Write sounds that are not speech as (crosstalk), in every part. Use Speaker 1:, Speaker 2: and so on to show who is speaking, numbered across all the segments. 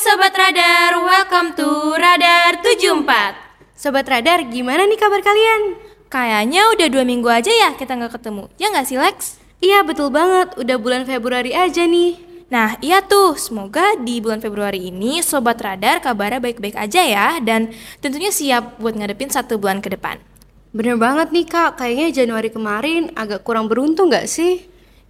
Speaker 1: Sobat Radar, welcome to Radar 74
Speaker 2: Sobat Radar, gimana nih kabar kalian?
Speaker 1: Kayaknya udah dua minggu aja ya kita nggak ketemu, ya nggak sih Lex?
Speaker 2: Iya betul banget, udah bulan Februari aja nih
Speaker 1: Nah iya tuh, semoga di bulan Februari ini Sobat Radar kabarnya baik-baik aja ya Dan tentunya siap buat ngadepin satu bulan ke depan
Speaker 2: Bener banget nih kak, kayaknya Januari kemarin agak kurang beruntung gak sih?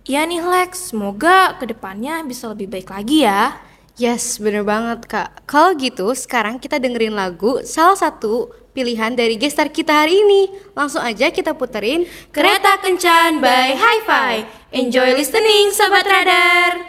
Speaker 1: Iya nih Lex, semoga kedepannya bisa lebih baik lagi ya
Speaker 2: Yes, bener banget kak Kalau gitu, sekarang kita dengerin lagu salah satu pilihan dari gestar kita hari ini Langsung aja kita puterin
Speaker 1: Kereta Kencan by Hi-Fi Enjoy listening Sobat Radar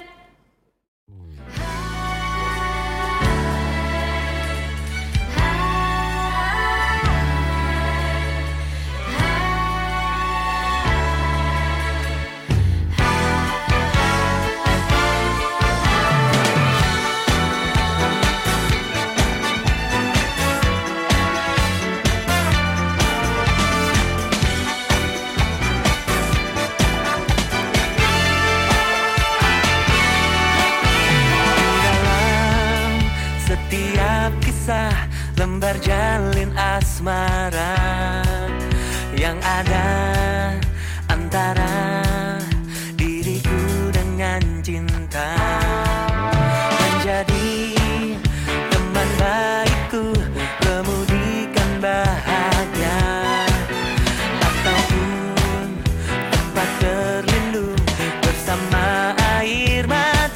Speaker 3: dalam setiap kisah lembar jalin asmara yang ada antara diriku dengan cinta menjadi teman baikku kemudikan bahagia ataupun tempat terlindung bersama air mata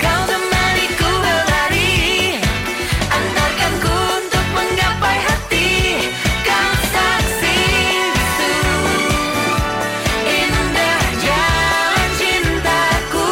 Speaker 3: Kau temaniku berlari Antarkanku untuk menggapai hati Kau saksi itu Indah jalan cintaku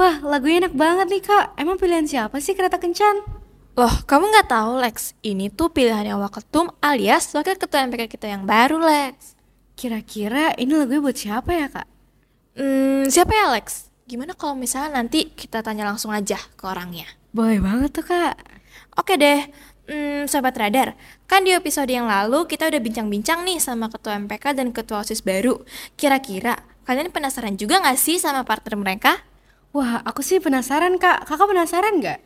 Speaker 3: Oh.
Speaker 2: lagunya enak banget nih kak. Emang pilihan siapa sih kereta kencan?
Speaker 1: Loh, kamu nggak tahu Lex, ini tuh pilihan yang waketum alias wakil ketua MPK kita yang baru Lex.
Speaker 2: Kira-kira ini lagunya buat siapa ya kak?
Speaker 1: Hmm, siapa ya Lex? Gimana kalau misalnya nanti kita tanya langsung aja ke orangnya?
Speaker 2: Boleh banget tuh kak.
Speaker 1: Oke deh, hmm, Sobat Radar, kan di episode yang lalu kita udah bincang-bincang nih sama Ketua MPK dan Ketua OSIS baru. Kira-kira kalian penasaran juga nggak sih sama partner mereka?
Speaker 2: Wah aku sih penasaran kak. Kakak penasaran nggak?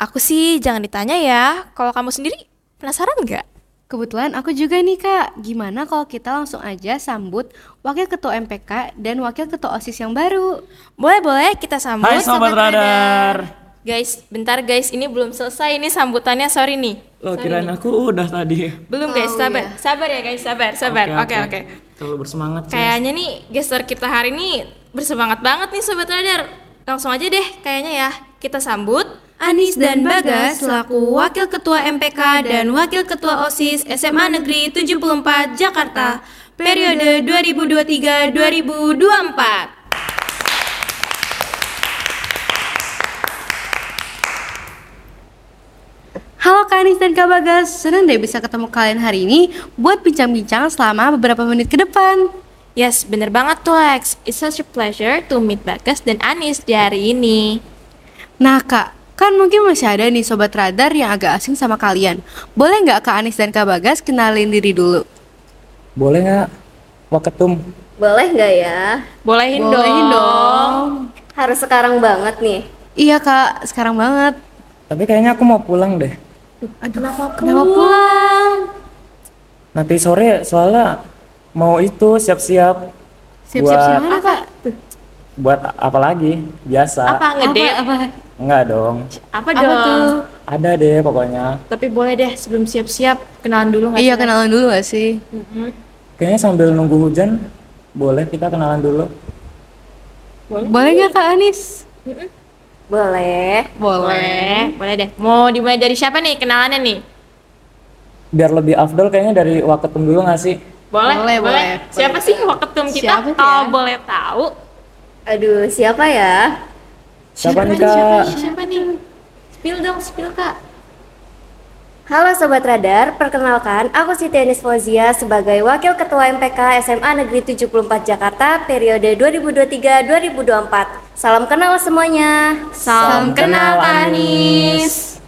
Speaker 1: Aku sih jangan ditanya ya, kalau kamu sendiri penasaran nggak?
Speaker 2: Kebetulan aku juga nih kak. Gimana kalau kita langsung aja sambut Wakil Ketua MPK dan Wakil Ketua OSIS yang baru?
Speaker 1: Boleh-boleh kita sambut
Speaker 3: Hai, Sobat Radar.
Speaker 1: Guys, bentar guys, ini belum selesai ini sambutannya, sorry nih.
Speaker 3: Oh, kirain aku udah tadi.
Speaker 1: Belum guys, sabar. Sabar ya guys, sabar, sabar. Oke, oke.
Speaker 3: Terlalu bersemangat. Ces.
Speaker 1: Kayaknya nih gestar kita hari ini bersemangat banget nih Sobat Radar. Langsung aja deh kayaknya ya. Kita sambut
Speaker 2: Anis dan Bagas selaku
Speaker 1: Wakil Ketua MPK dan Wakil Ketua OSIS SMA Negeri 74 Jakarta periode 2023-2024.
Speaker 2: Halo Kak Anis dan Kak Bagas, senang deh bisa ketemu kalian hari ini buat bincang-bincang selama beberapa menit ke depan.
Speaker 1: Yes, bener banget tuh Lex. It's such a pleasure to meet Bagas dan Anis di hari ini.
Speaker 2: Nah Kak, kan mungkin masih ada nih Sobat Radar yang agak asing sama kalian. Boleh nggak Kak Anis dan Kak Bagas kenalin diri dulu?
Speaker 4: Boleh nggak Waketum?
Speaker 5: Boleh nggak ya?
Speaker 1: Bolehin dong.
Speaker 5: Harus sekarang banget nih.
Speaker 2: Iya Kak, sekarang banget.
Speaker 4: Tapi kayaknya aku mau pulang deh.
Speaker 2: Kenapa pulang?
Speaker 4: Nanti sore soalnya mau itu siap-siap.
Speaker 2: Siap-siap
Speaker 4: buat,
Speaker 2: gimana Kak?
Speaker 4: buat apa lagi? Biasa.
Speaker 1: Apa ngedate? Apa,
Speaker 4: Enggak dong.
Speaker 1: dong?
Speaker 4: Ada deh pokoknya.
Speaker 1: Tapi boleh deh sebelum siap-siap kenalan dulu nggak?
Speaker 2: Iya
Speaker 1: sih, Lex?
Speaker 2: kenalan dulu gak sih?
Speaker 4: Kayaknya sambil nunggu hujan boleh kita kenalan dulu.
Speaker 2: Boleh nggak Kak Anis?
Speaker 5: Boleh.
Speaker 2: Iya,
Speaker 1: Boleh, boleh deh. Mau dimulai dari siapa nih kenalannya nih?
Speaker 4: Biar lebih afdol kayaknya dari Waketum dulu nggak sih?
Speaker 1: Boleh,
Speaker 2: Boleh,
Speaker 1: boleh.
Speaker 2: boleh.
Speaker 1: Siapa sih waketum kita?
Speaker 2: Siapa tuh
Speaker 1: Kalau
Speaker 2: ya?
Speaker 1: boleh tahu.
Speaker 5: Aduh, siapa ya?
Speaker 4: Siapa nih kak?
Speaker 1: Siapa nih? Spill dong, spill kak.
Speaker 5: Halo Sobat Radar, perkenalkan aku Siti Anis Fauzia sebagai Wakil Ketua MPK SMA Negeri 74 Jakarta periode 2023-2024. Salam kenal semuanya.
Speaker 1: Salam kenal Anis.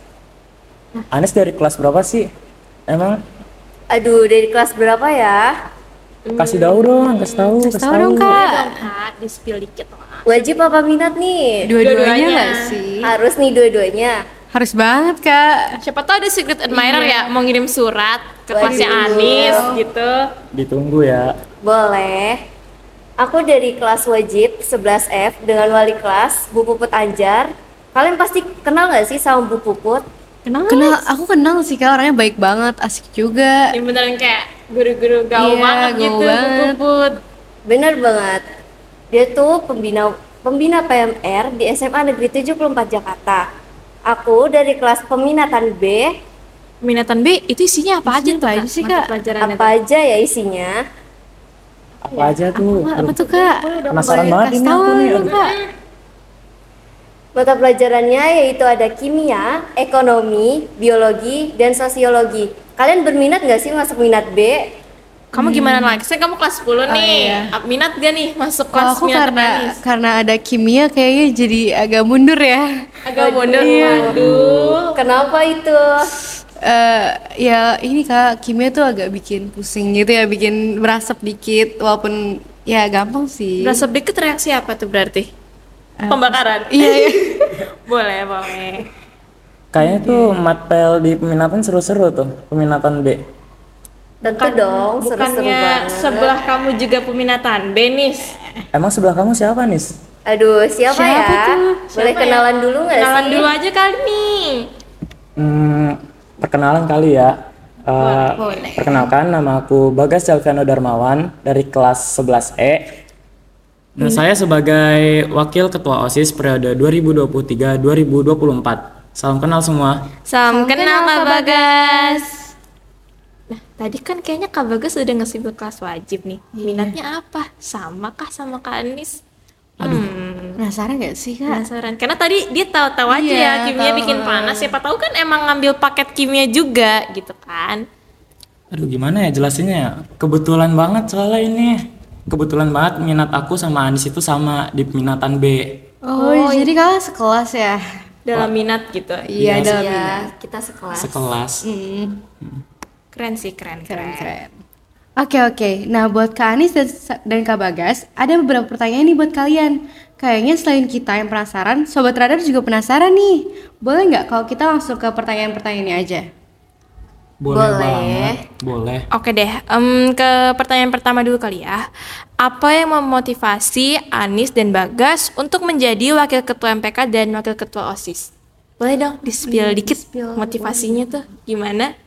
Speaker 4: Anis dari kelas berapa sih? Emang
Speaker 5: Aduh, dari kelas berapa ya?
Speaker 4: kasih tahu dong, kasih tahu, kasih
Speaker 2: Tahu dong Kak.
Speaker 1: Dong kak, di spill dikit lah.
Speaker 5: Wajib apa minat nih?
Speaker 2: Dua-duanya
Speaker 1: Dua-duanya.
Speaker 2: gak sih?
Speaker 5: Harus nih dua-duanya.
Speaker 2: Harus banget Kak.
Speaker 1: Siapa tahu ada secret admirer ya, mau ngirim surat ke
Speaker 5: Waduh.
Speaker 1: kelasnya Anis gitu.
Speaker 4: Ditunggu ya.
Speaker 5: Boleh. Aku dari kelas wajib 11F dengan wali kelas Bu Puput Anjar. Kalian pasti kenal nggak sih sama Bu Puput?
Speaker 2: Kenal, aku kenal sih Kak, orangnya baik banget, asik juga.
Speaker 1: Ini beneran kayak guru-guru
Speaker 2: Iya,
Speaker 1: gaul banget
Speaker 2: gaul
Speaker 1: gitu,
Speaker 2: banget.
Speaker 1: bubut.
Speaker 5: Bener banget. Dia tuh pembina pembina PMR di SMA Negeri 74 Jakarta. Aku dari kelas peminatan B.
Speaker 1: Minatan B itu isinya apa aja
Speaker 2: Isinya
Speaker 1: tuh
Speaker 2: apa
Speaker 1: kak?
Speaker 2: aja sih,
Speaker 1: Mata
Speaker 2: Kak?
Speaker 1: Pelajarannya
Speaker 5: Apa aja ya isinya?
Speaker 4: Apa aja tuh?
Speaker 2: Wah, apa
Speaker 4: Aduh,
Speaker 2: tuh Kak?
Speaker 4: Penasaran banget
Speaker 2: Kasih
Speaker 4: ini
Speaker 2: tahu
Speaker 4: aku nih.
Speaker 2: dong, Kak.
Speaker 5: Mata pelajarannya yaitu ada kimia, ekonomi, biologi, dan sosiologi. Kalian berminat nggak sih masuk minat B?
Speaker 1: Kamu gimana lagi? Saya kamu kelas 10 nih.
Speaker 2: Hmm. iya.
Speaker 1: Minat gak nih masuk
Speaker 2: Kalau
Speaker 1: kelas
Speaker 2: aku
Speaker 1: minat
Speaker 2: karena
Speaker 1: Anis?
Speaker 2: karena ada kimia kayaknya jadi agak mundur ya.
Speaker 1: agak mundur.
Speaker 2: Iya.
Speaker 1: Waduh.
Speaker 5: Kenapa itu?
Speaker 2: Eh ya ini Kak, kimia tuh agak bikin pusing gitu ya, bikin berasap dikit walaupun ya gampang sih.
Speaker 1: Berasa dikit reaksi apa tuh berarti? Pembakaran.
Speaker 2: Iya, iya.
Speaker 1: boleh, boleh.
Speaker 4: Kayaknya tuh matel di peminatan seru-seru tuh, peminatan B.
Speaker 5: Tentu dong, seru-seru
Speaker 1: Bukannya
Speaker 5: banget.
Speaker 1: sebelah kamu juga peminatan Benis.
Speaker 4: Emang sebelah kamu siapa, Nis?
Speaker 5: Aduh, siapa, ya? Boleh kenalan dulu nggak
Speaker 1: Kenalan
Speaker 5: sih?
Speaker 1: dulu aja kali nih.
Speaker 4: Hmm, perkenalan kali ya. Eh, Perkenalkan, nama aku Bagas Jalviano Darmawan dari kelas E. 11E.
Speaker 3: Nah, saya sebagai wakil ketua OSIS periode 2023-2024. Salam kenal semua.
Speaker 1: Salam kenal Kak Bagas. Nah, tadi kan kayaknya Kak Bagas udah ngasih kelas wajib nih. Minatnya apa? Sama kah sama Kak Anis?
Speaker 2: Penasaran gak sih kak?
Speaker 1: Penasaran. Karena tadi dia tahu-tahu aja
Speaker 2: Iya,
Speaker 1: ya kimia
Speaker 2: tahu.
Speaker 1: bikin panas. Siapa tahu kan emang ngambil paket kimia juga gitu kan.
Speaker 3: Aduh gimana ya jelasinnya ya? Kebetulan banget soalnya ini. Kebetulan banget minat aku sama Anis itu sama di peminatan B.
Speaker 2: Oh, jadi kakak sekelas ya?
Speaker 1: Dalam minat gitu.
Speaker 2: Iya, dalam
Speaker 5: Ya,
Speaker 2: minat.
Speaker 5: kita sekelas.
Speaker 3: Sekelas.
Speaker 1: Keren sih, keren, keren.
Speaker 2: Keren. Oke oke, nah buat Kak Anis dan, dan Kak Bagas, ada beberapa pertanyaan nih buat kalian. Kayaknya selain kita yang penasaran, Sobat Radar juga penasaran nih. Boleh nggak kalau kita langsung ke pertanyaan-pertanyaannya aja?
Speaker 3: Boleh,
Speaker 5: Boleh.
Speaker 3: banget. Boleh.
Speaker 1: Oke deh, em, ke pertanyaan pertama dulu kali ya. Apa yang memotivasi Anis dan Bagas untuk menjadi wakil ketua MPK dan wakil ketua OSIS? Boleh dong di-spill dikit motivasinya tuh gimana?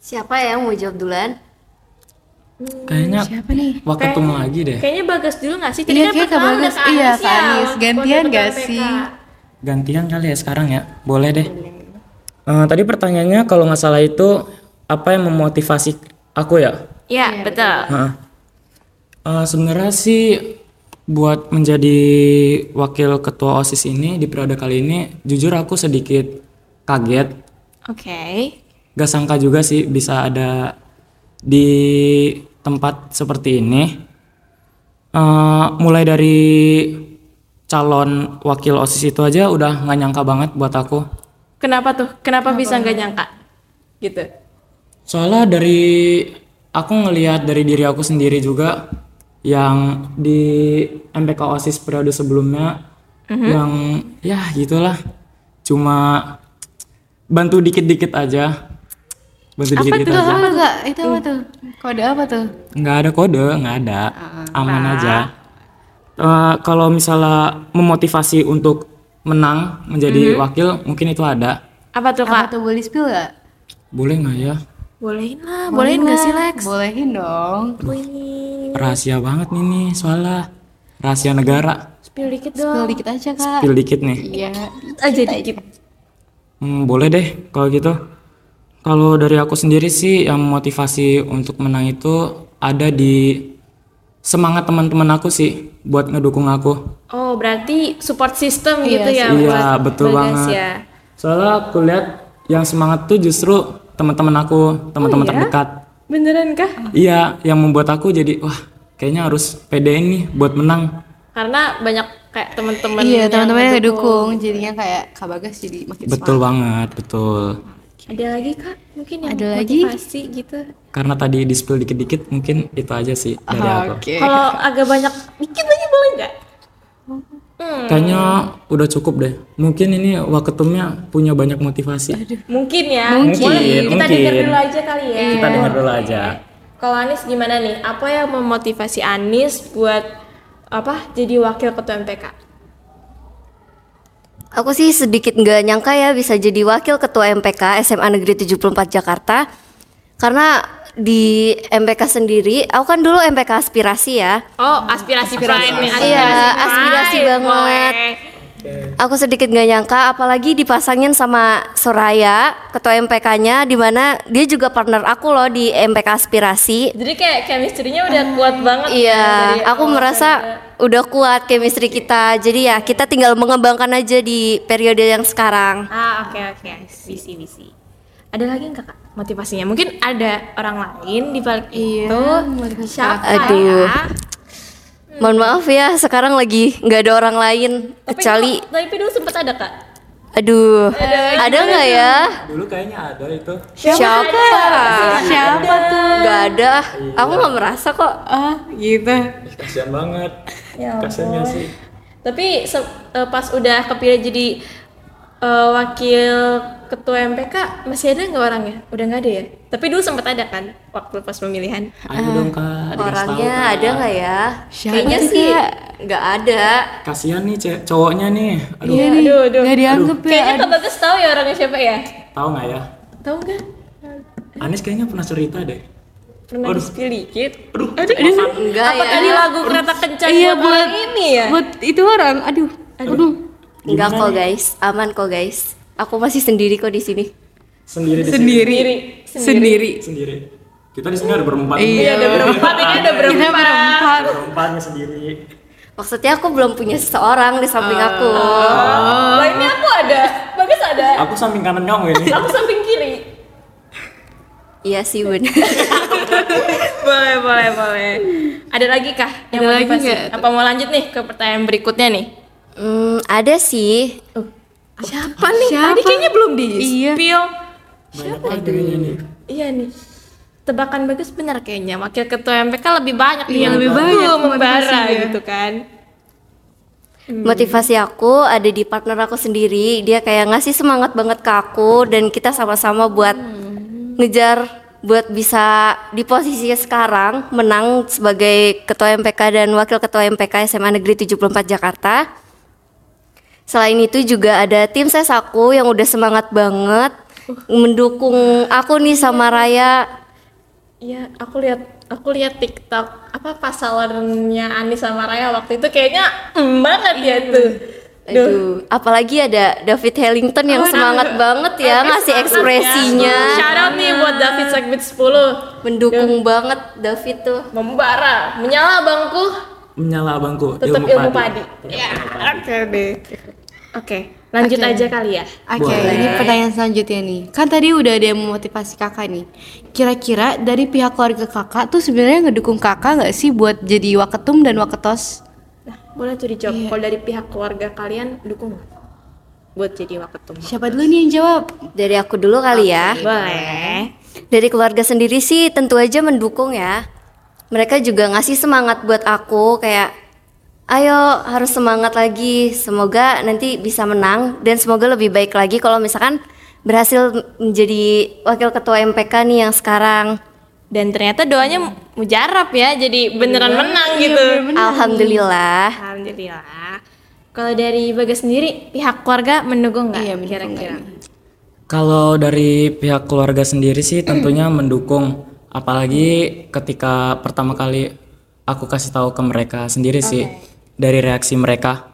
Speaker 5: Siapa ya yang mau jawab duluan?
Speaker 3: Kayaknya
Speaker 2: Siapa nih?
Speaker 3: waktu
Speaker 1: Kayak-
Speaker 3: ketemu lagi deh.
Speaker 1: Kayaknya Bagas dulu gak sih? kan
Speaker 2: Iya, kayak Kak Bagas. Iya, Kak Anis. Gantian nggak
Speaker 1: gak
Speaker 2: sih?
Speaker 3: Gantian kali ya sekarang ya. Boleh deh.
Speaker 4: Eh, tadi pertanyaannya kalau nggak salah itu apa yang memotivasi aku ya?
Speaker 1: Iya, betul.
Speaker 4: Heeh. Eh, sebenarnya sih buat menjadi wakil ketua OSIS ini di periode kali ini jujur aku sedikit kaget.
Speaker 1: Oke.
Speaker 4: Gak sangka juga sih bisa ada di tempat seperti ini. Eh, mulai dari calon wakil OSIS itu aja udah nggak nyangka banget buat aku.
Speaker 1: Kenapa tuh? Kenapa, bisa nggak nyangka? Gitu.
Speaker 4: Soalnya dari aku ngelihat dari diri aku sendiri juga yang di MPK OSIS periode sebelumnya yang ya gitulah cuma bantu dikit-dikit aja. Bantu dikit-dikit
Speaker 2: Itu
Speaker 4: aja.
Speaker 2: apa kak? Itu apa tuh? Kode apa tuh?
Speaker 4: nggak ada kode nggak ada aman aja Eh, kalau misalnya memotivasi untuk menang menjadi wakil mungkin itu ada
Speaker 1: Apa tuh,
Speaker 2: Apa
Speaker 1: Kak?
Speaker 2: tuh boleh spill gak?
Speaker 4: boleh nggak ya
Speaker 1: Bolehin lah, bolehin gak sih, Lex?
Speaker 2: Bolehin dong.
Speaker 4: rahasia banget nih nih soalnya rahasia negara
Speaker 1: Spill dikit dong.
Speaker 2: Spill dikit aja kak.
Speaker 4: pil dikit nih
Speaker 2: Iya.
Speaker 1: aja dikit.
Speaker 4: Hmm, boleh deh kalau gitu kalau dari aku sendiri sih yang memotivasi untuk menang itu ada di semangat teman-teman aku sih buat ngedukung aku
Speaker 1: Oh, berarti support system gitu ya
Speaker 4: Iya, betul banget.
Speaker 1: Bagas ya.
Speaker 4: Soalnya aku lihat yang semangat tuh justru teman-teman aku, teman-teman terdekat.
Speaker 1: Oh, iya? Beneran kah?
Speaker 4: Iya, yang membuat aku jadi wah, kayaknya harus pedein nih buat menang.
Speaker 1: Karena banyak kayak teman-teman
Speaker 2: Iya
Speaker 1: yang
Speaker 2: teman-teman yang
Speaker 1: ngedukung.
Speaker 2: ngedukung. Jadinya kayak Kak Bagas jadi makin
Speaker 4: Betul banget, betul.
Speaker 1: Ada lagi Kak? Mungkin yang
Speaker 2: Ada lagi?
Speaker 1: motivasi gitu.
Speaker 4: Karena tadi di spill dikit-dikit mungkin itu aja sih dari aku.
Speaker 2: Oke.
Speaker 1: Kalau agak banyak dikit lagi boleh nggak?
Speaker 4: Kayaknya udah cukup deh. Mungkin ini waketumnya punya banyak motivasi.
Speaker 1: Mungkin ya.
Speaker 4: Mungkin,
Speaker 1: Boleh. Kita
Speaker 4: mungkin.
Speaker 1: denger dulu aja kali ya.
Speaker 4: Kita dengar dulu aja.
Speaker 1: Kalau Anis gimana nih? Apa yang memotivasi Anis buat apa jadi wakil ketua MPK?
Speaker 5: Aku sih sedikit nggak nyangka ya bisa jadi wakil ketua MPK SMA Negeri 74 Jakarta Karena di MPK sendiri, aku kan dulu MPK aspirasi ya
Speaker 1: Oh, aspirasi, prime nih, aspirasi
Speaker 5: Iya,
Speaker 1: prime.
Speaker 5: aspirasi banget.
Speaker 1: Boleh.
Speaker 5: Aku sedikit nggak nyangka, apalagi dipasangin sama Soraya, ketua MPK-nya Dimana dia juga partner aku loh di MPK aspirasi
Speaker 1: Jadi kayak chemistry-nya udah kuat banget. kan, dari
Speaker 5: Iya, aku
Speaker 1: awal
Speaker 5: merasa udah kuat chemistry kita. Jadi ya kita tinggal mengembangkan aja di periode yang sekarang.
Speaker 1: Ah oke oke, visi visi. Ada lagi nggak kak motivasinya? Mungkin ada orang lain di balik itu. Siapa
Speaker 5: Aduh.
Speaker 1: ya?
Speaker 5: Mohon maaf ya, sekarang lagi nggak ada orang lain
Speaker 1: Tapi
Speaker 5: kecuali,
Speaker 1: dulu- tapi Nah, dulu sempet ada kak.
Speaker 5: aduh, ada nggak ya?
Speaker 4: Dulu kayaknya ada itu.
Speaker 5: Siapa?
Speaker 2: Siapa tuh?
Speaker 5: Nggak ada. Aku nggak merasa kok.
Speaker 2: Ah gitu.
Speaker 4: Kasihan banget.
Speaker 1: Ya
Speaker 4: Kasihan sih.
Speaker 1: Tapi se- eh, pas udah kepilih jadi eh, wakil ketua MPK masih ada nggak orangnya? Udah nggak ada ya? Tapi dulu sempet ada kan waktu pas pemilihan.
Speaker 4: Ayo dong Kak, dikasih tahu,
Speaker 5: Orangnya
Speaker 4: Kak.
Speaker 5: ada nggak ya?
Speaker 2: Siapa
Speaker 5: Kayaknya
Speaker 2: tuh,
Speaker 5: sih
Speaker 2: Kak?
Speaker 5: nggak ada.
Speaker 4: Kasihan nih ce- cowoknya nih. Aduh,
Speaker 2: Iya nih.
Speaker 1: Aduh, aduh.
Speaker 2: Nggak dianggap ya.
Speaker 1: Kayaknya kak Bagas tahu ya orangnya siapa ya?
Speaker 4: tahu nggak ya?
Speaker 1: Tahu nggak?
Speaker 4: Anies kayaknya pernah cerita deh.
Speaker 1: Pernah di-spill dikit.
Speaker 5: Enggak
Speaker 1: Apa
Speaker 5: ya?
Speaker 1: tadi lagu kereta kencang
Speaker 2: Iya,
Speaker 1: buat,
Speaker 2: buat-
Speaker 1: orang ini ya?
Speaker 2: Buat itu orang. Aduh. Aduh.
Speaker 5: Enggak kok guys, aman kok guys. Aku masih sendiri kok di sini.
Speaker 4: Sendiri di sini.
Speaker 2: Sendiri. Sendiri.
Speaker 4: Sendiri. Kita di sini ada berempat.
Speaker 1: Iya, ada berempat, ini ada berempat.
Speaker 2: Kita berempat.
Speaker 4: Berempatnya sendiri.
Speaker 5: Maksudnya aku belum punya seseorang di samping aku.
Speaker 6: Lah ini aku ada, bagus ada.
Speaker 3: Aku samping kanan kamu ini.
Speaker 6: Aku samping kiri.
Speaker 5: Iya sih bener. (laughs)
Speaker 1: boleh boleh boleh ada lagi kah yang
Speaker 2: Ada lagi
Speaker 1: motivasi?
Speaker 2: nggak?
Speaker 1: apa mau lanjut nih ke pertanyaan berikutnya nih
Speaker 5: Hmm, ada sih.
Speaker 1: siapa nih
Speaker 2: Siapa?
Speaker 1: tadi kan kayaknya belum di
Speaker 2: Iya.
Speaker 1: spill
Speaker 3: Banyak banget kayaknya nih.
Speaker 1: iya nih tebakan bagus benar kayaknya wakil ketua MPK lebih banyak nih
Speaker 2: Iya,
Speaker 1: yang
Speaker 2: lebih
Speaker 1: "Uh,
Speaker 2: banyak
Speaker 1: membara
Speaker 2: motivasinya.
Speaker 1: gitu kan Hmm.
Speaker 5: Motivasi aku ada di partner aku sendiri. Dia kayak ngasih semangat banget ke aku dan kita sama-sama buat
Speaker 1: Hmm.
Speaker 5: ngejar buat bisa di posisinya sekarang menang sebagai ketua MPK dan wakil ketua MPK SMA Negeri 74 Jakarta. Selain itu juga ada tim ses aku yang udah semangat banget
Speaker 1: Uh.
Speaker 5: mendukung aku nih sama Raya.
Speaker 1: iya aku lihat aku lihat TikTok apa pasalannya Anis sama Raya waktu itu kayaknya em banget ya tuh
Speaker 5: Aduh, apalagi ada David Hellington yang semangat banget ya ngasih ekspresinya.
Speaker 1: Shout out nih buat David Segbit 10
Speaker 5: mendukung banget David tuh
Speaker 1: Membara, menyala bangku,
Speaker 3: Menyala abangku.
Speaker 1: tetap ilmu, padi. Ya, oke deh. Oke, lanjut
Speaker 2: Oke.
Speaker 1: aja kali ya.
Speaker 2: Oke, ini pertanyaan selanjutnya nih. Kan tadi udah ada yang memotivasi kakak nih. Kira-kira dari pihak keluarga kakak tuh sebenarnya ngedukung kakak nggak sih buat jadi waketum dan waketos? Iya.
Speaker 1: Nah, boleh tuh dijawab. Kalau dari pihak keluarga kalian dukung nggak? buat jadi waketum.
Speaker 2: Siapa dulu nih yang jawab?
Speaker 5: dari aku dulu kali ya
Speaker 1: Boleh.
Speaker 5: dari keluarga sendiri sih tentu aja mendukung ya mereka juga ngasih semangat buat aku kayak ayo harus semangat lagi semoga nanti bisa menang dan semoga lebih baik lagi kalau misalkan berhasil menjadi wakil ketua MPK nih yang sekarang
Speaker 1: Dan ternyata doanya mujarab ya, jadi beneran menang gitu.
Speaker 5: alhamdulillah
Speaker 1: Alhamdulillah. Kalau dari Bagas sendiri, pihak keluarga mendukung nggak?
Speaker 2: Iya, mendukung
Speaker 1: kira-kira.
Speaker 4: Kalau dari pihak keluarga sendiri sih tentunya
Speaker 1: (clears throat)
Speaker 4: mendukung, apalagi ketika pertama kali aku kasih tahu ke mereka sendiri sih dari reaksi mereka.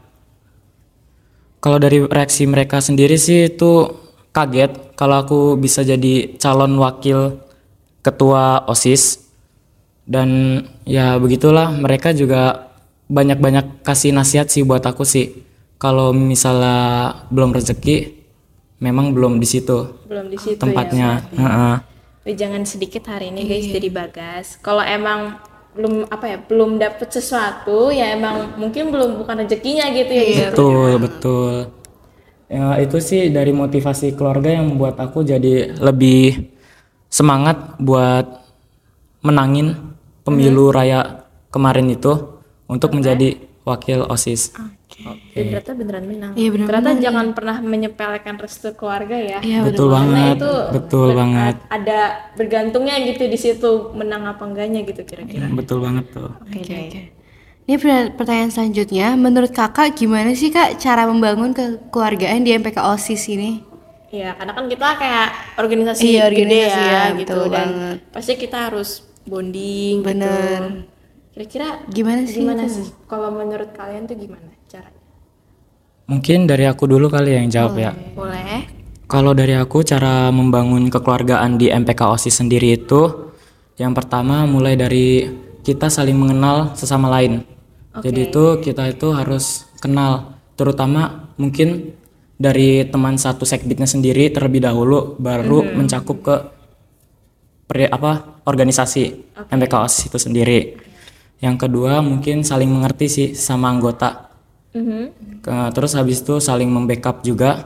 Speaker 4: Kalau dari reaksi mereka sendiri sih itu kaget kalau aku bisa jadi calon wakil ketua OSIS dan ya begitulah mereka juga banyak-banyak kasih nasihat sih buat aku sih kalau misalnya belum rezeki memang belum di situ
Speaker 1: Belum di situ ya.
Speaker 4: tempatnya Heeh.
Speaker 1: Jangan sedikit hari ini guys jadi Bagas. Kalau emang belum apa ya belum dapet sesuatu ya emang mungkin belum bukan rezekinya gitu ya gitu.
Speaker 4: Iya, betul betul ya itu sih dari motivasi keluarga yang membuat aku jadi lebih semangat buat menangin pemilu raya kemarin itu untuk menjadi wakil osis
Speaker 1: Dan ternyata beneran menang.
Speaker 2: Iya, beneran
Speaker 1: ternyata jangan pernah menyepelekan restu keluarga ya.
Speaker 2: Iya,
Speaker 4: betul banget Nah,
Speaker 1: Itu
Speaker 4: betul
Speaker 1: ber-
Speaker 4: banget
Speaker 1: Ada bergantungnya gitu di situ menang apa enggaknya gitu kira-kira.
Speaker 4: betul banget tuh
Speaker 1: Oke deh.
Speaker 2: Ini per- pertanyaan selanjutnya, menurut kakak gimana sih kak cara membangun kekeluargaan di MPK OSIS ini?
Speaker 1: Iya, karena kan kita kayak organisasi
Speaker 2: Iya,
Speaker 1: gede
Speaker 2: organisasi
Speaker 1: ya,
Speaker 2: ya,
Speaker 1: gitu
Speaker 2: betul
Speaker 1: dan
Speaker 2: banget.
Speaker 1: pasti kita harus bonding
Speaker 2: Bener.
Speaker 1: gitu. Kira-kira
Speaker 2: Gimana sih
Speaker 1: Gimana
Speaker 2: itu?
Speaker 1: sih? Kalau menurut kalian tuh gimana caranya?
Speaker 4: Mungkin dari aku dulu kali yang jawab ya.
Speaker 1: Boleh.
Speaker 4: Kalau dari aku cara membangun kekeluargaan di MPK OSIS sendiri itu yang pertama mulai dari kita saling mengenal sesama lain. Jadi itu kita itu harus kenal terutama mungkin dari teman satu sekbitnya sendiri terlebih dahulu baru
Speaker 1: Mm-hmm.
Speaker 4: mencakup ke peri- apa organisasi MPK OSIS itu sendiri. Yang kedua mungkin saling mengerti sih sama anggota. Ke- terus habis itu saling membackup juga.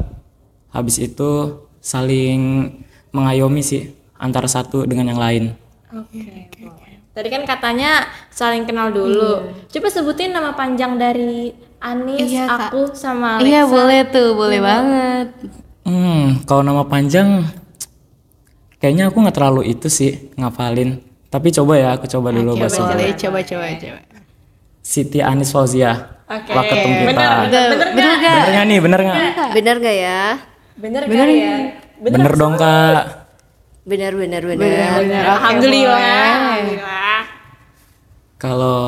Speaker 4: Habis itu saling mengayomi sih antara satu dengan yang lain.
Speaker 1: Oke. boleh. Tadi kan katanya saling kenal dulu. Coba sebutin nama panjang dari Anis,
Speaker 2: Iya, Kak.
Speaker 1: aku sama Alexa.
Speaker 2: Iya boleh tuh, boleh banget.
Speaker 4: Hmm, kalau nama panjang kayaknya aku nggak terlalu itu sih ngafalin. Tapi coba ya, aku coba dulu bahasa Jawa.
Speaker 2: Boleh, Eh, coba coba coba.
Speaker 4: Siti Anis Fauzia.
Speaker 1: Oke.
Speaker 4: Waketum kita.
Speaker 1: Bener, bener, bener,
Speaker 2: Eh, Bener
Speaker 1: nggak?
Speaker 2: gak?
Speaker 4: Bener nggak nih, bener nggak?
Speaker 5: bener gak ya
Speaker 1: Bener, kan ya?
Speaker 4: Bener, dong kak.
Speaker 5: bener bener bener,
Speaker 1: Bener. Alhamdulillah. Alhamdulillah.
Speaker 4: Kalau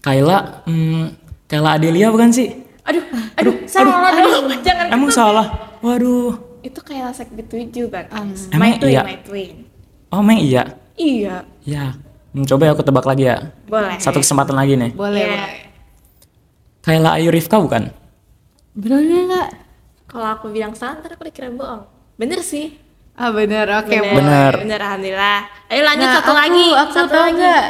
Speaker 4: Kaila, hmm, Kaila Adelia bukan sih?
Speaker 1: Aduh, aduh, salah dong. Jangan
Speaker 4: Emang salah. Waduh.
Speaker 1: itu kayak lasek ketujuh kan.
Speaker 4: Emang
Speaker 1: my twin,
Speaker 4: iya?
Speaker 1: my twin.
Speaker 4: Oh, Meng iya.
Speaker 1: Iya,
Speaker 4: Ya, Hmm, coba ya aku tebak lagi ya.
Speaker 1: boleh.
Speaker 4: Satu kesempatan lagi nih.
Speaker 1: Boleh.
Speaker 4: Kayla Ayu Rifka bukan?
Speaker 2: Bener nggak?
Speaker 1: Kalau aku bilang salah, ntar aku dikira bohong. Bener sih.
Speaker 2: Ah bener, oke.
Speaker 4: Bener.
Speaker 1: Bener, alhamdulillah. Ayo lanjut
Speaker 2: Nah,
Speaker 1: satu
Speaker 2: aku-
Speaker 1: lagi.
Speaker 2: Aku
Speaker 1: satu
Speaker 2: tau nggak?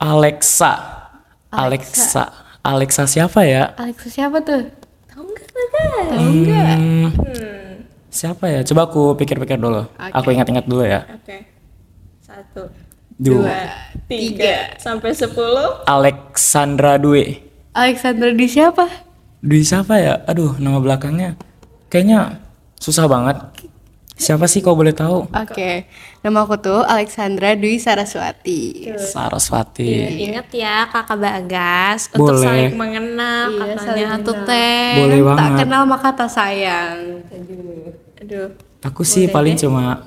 Speaker 4: Alexa. Alexa. Alexa siapa ya?
Speaker 2: Alexa siapa tuh?
Speaker 1: Tahu nggak, Bagas?
Speaker 4: Hmm. Siapa ya? Coba aku pikir-pikir dulu. Aku ingat-ingat dulu ya.
Speaker 1: Oke. Satu,
Speaker 4: Dua.
Speaker 1: tiga, sampai sepuluh.
Speaker 4: Alexandra Dwi.
Speaker 2: Alexander di siapa?
Speaker 4: Dwi siapa ya? Aduh, nama belakangnya kayaknya susah banget. Siapa sih kau boleh tahu?
Speaker 2: Oke, nama aku tuh Alexandra Dwi Saraswati.
Speaker 4: Saraswati.
Speaker 1: Ingat ya kakak Bagas untuk
Speaker 4: Boleh.
Speaker 1: saling mengenal katanya tuh teh.
Speaker 4: Boleh
Speaker 2: Tak
Speaker 4: banget.
Speaker 2: Iya, kenal maka tak sayang.
Speaker 1: Aduh.
Speaker 4: Aku sih paling cuma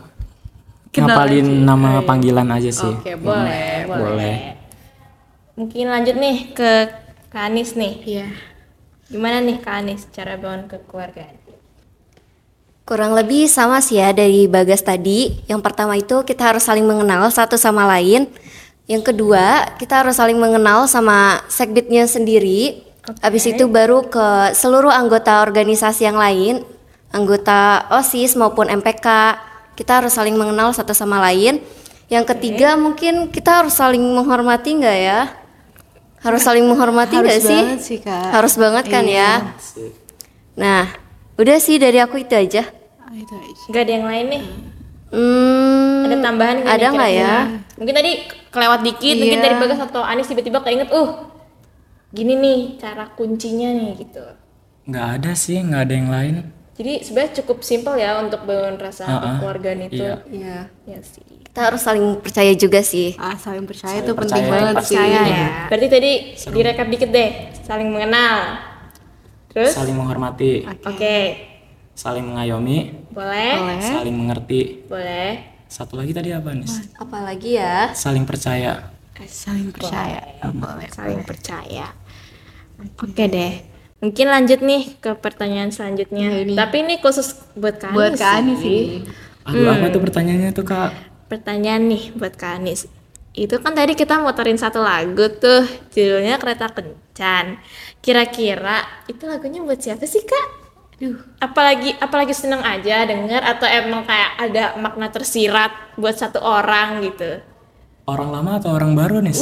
Speaker 4: ngapalin nama panggilan aja sih.
Speaker 2: Oke, boleh.
Speaker 4: boleh.
Speaker 1: Mungkin lanjut nih ke Kak Anis nih.
Speaker 2: Iya.
Speaker 1: Gimana nih Kak Anis cara bangun kekeluargaan?
Speaker 5: Kurang lebih sama sih ya dari Bagas tadi. Yang pertama itu kita harus saling mengenal satu sama lain. Yang kedua, kita harus saling mengenal sama segbitnya sendiri. Habis itu baru ke seluruh anggota organisasi yang lain, anggota OSIS maupun MPK. Kita harus saling mengenal satu sama lain. Yang ketiga mungkin kita harus saling menghormati enggak ya? Harus saling menghormati enggak sih?
Speaker 2: banget sih, Kak. Iya.
Speaker 5: Harus banget kan ya? Nah, udah sih dari aku itu aja.
Speaker 2: Itu aja.
Speaker 1: Gak ada yang lain nih?
Speaker 5: Hmm,
Speaker 1: Ada tambahan nggak
Speaker 5: ada
Speaker 1: nih
Speaker 5: nggak ya?
Speaker 1: kira-kira? Mungkin tadi kelewat dikit, mungkin
Speaker 2: Iya.
Speaker 1: dari Bagas atau Anis tiba-tiba keinget, uh gini nih cara kuncinya nih gitu.
Speaker 4: Nggak ada sih, nggak ada yang lain.
Speaker 1: Jadi sebenarnya cukup simpel ya untuk bangun
Speaker 4: Ah,
Speaker 1: rasa
Speaker 4: ah.
Speaker 1: kekeluargaan itu.
Speaker 4: Iya.
Speaker 2: Iya.
Speaker 1: Ya sih.
Speaker 5: Kita harus saling percaya juga sih.
Speaker 2: Ah, saling percaya itu penting banget sih.
Speaker 1: Iya. Berarti tadi direkap dikit deh, saling mengenal. Terus?
Speaker 4: Saling menghormati,
Speaker 2: Ah.
Speaker 1: Oke,
Speaker 4: saling mengayomi,
Speaker 1: boleh,
Speaker 2: Boleh.
Speaker 4: saling mengerti.
Speaker 1: boleh.
Speaker 4: Satu lagi tadi apa, Nis?
Speaker 5: Apalagi ya?
Speaker 4: Saling percaya.
Speaker 2: Saling percaya. Boleh.
Speaker 1: Saling percaya. Oke deh. Mungkin lanjut nih ke pertanyaan selanjutnya. Tapi ini khusus buat Kak
Speaker 2: Buat
Speaker 1: Anis
Speaker 2: Kak Ani sih.
Speaker 4: Aduh,
Speaker 2: Hmm.
Speaker 4: apa tuh pertanyaannya tuh, Kak?
Speaker 1: Pertanyaan nih buat Kak Anis. Itu kan tadi kita muterin satu lagu tuh, judulnya Kereta Kencan. Kira-kira itu lagunya buat siapa sih, Kak? Aduh. Apalagi apalagi seneng aja denger atau emang kayak ada makna tersirat buat satu orang gitu.
Speaker 4: Orang lama atau orang baru, Nis?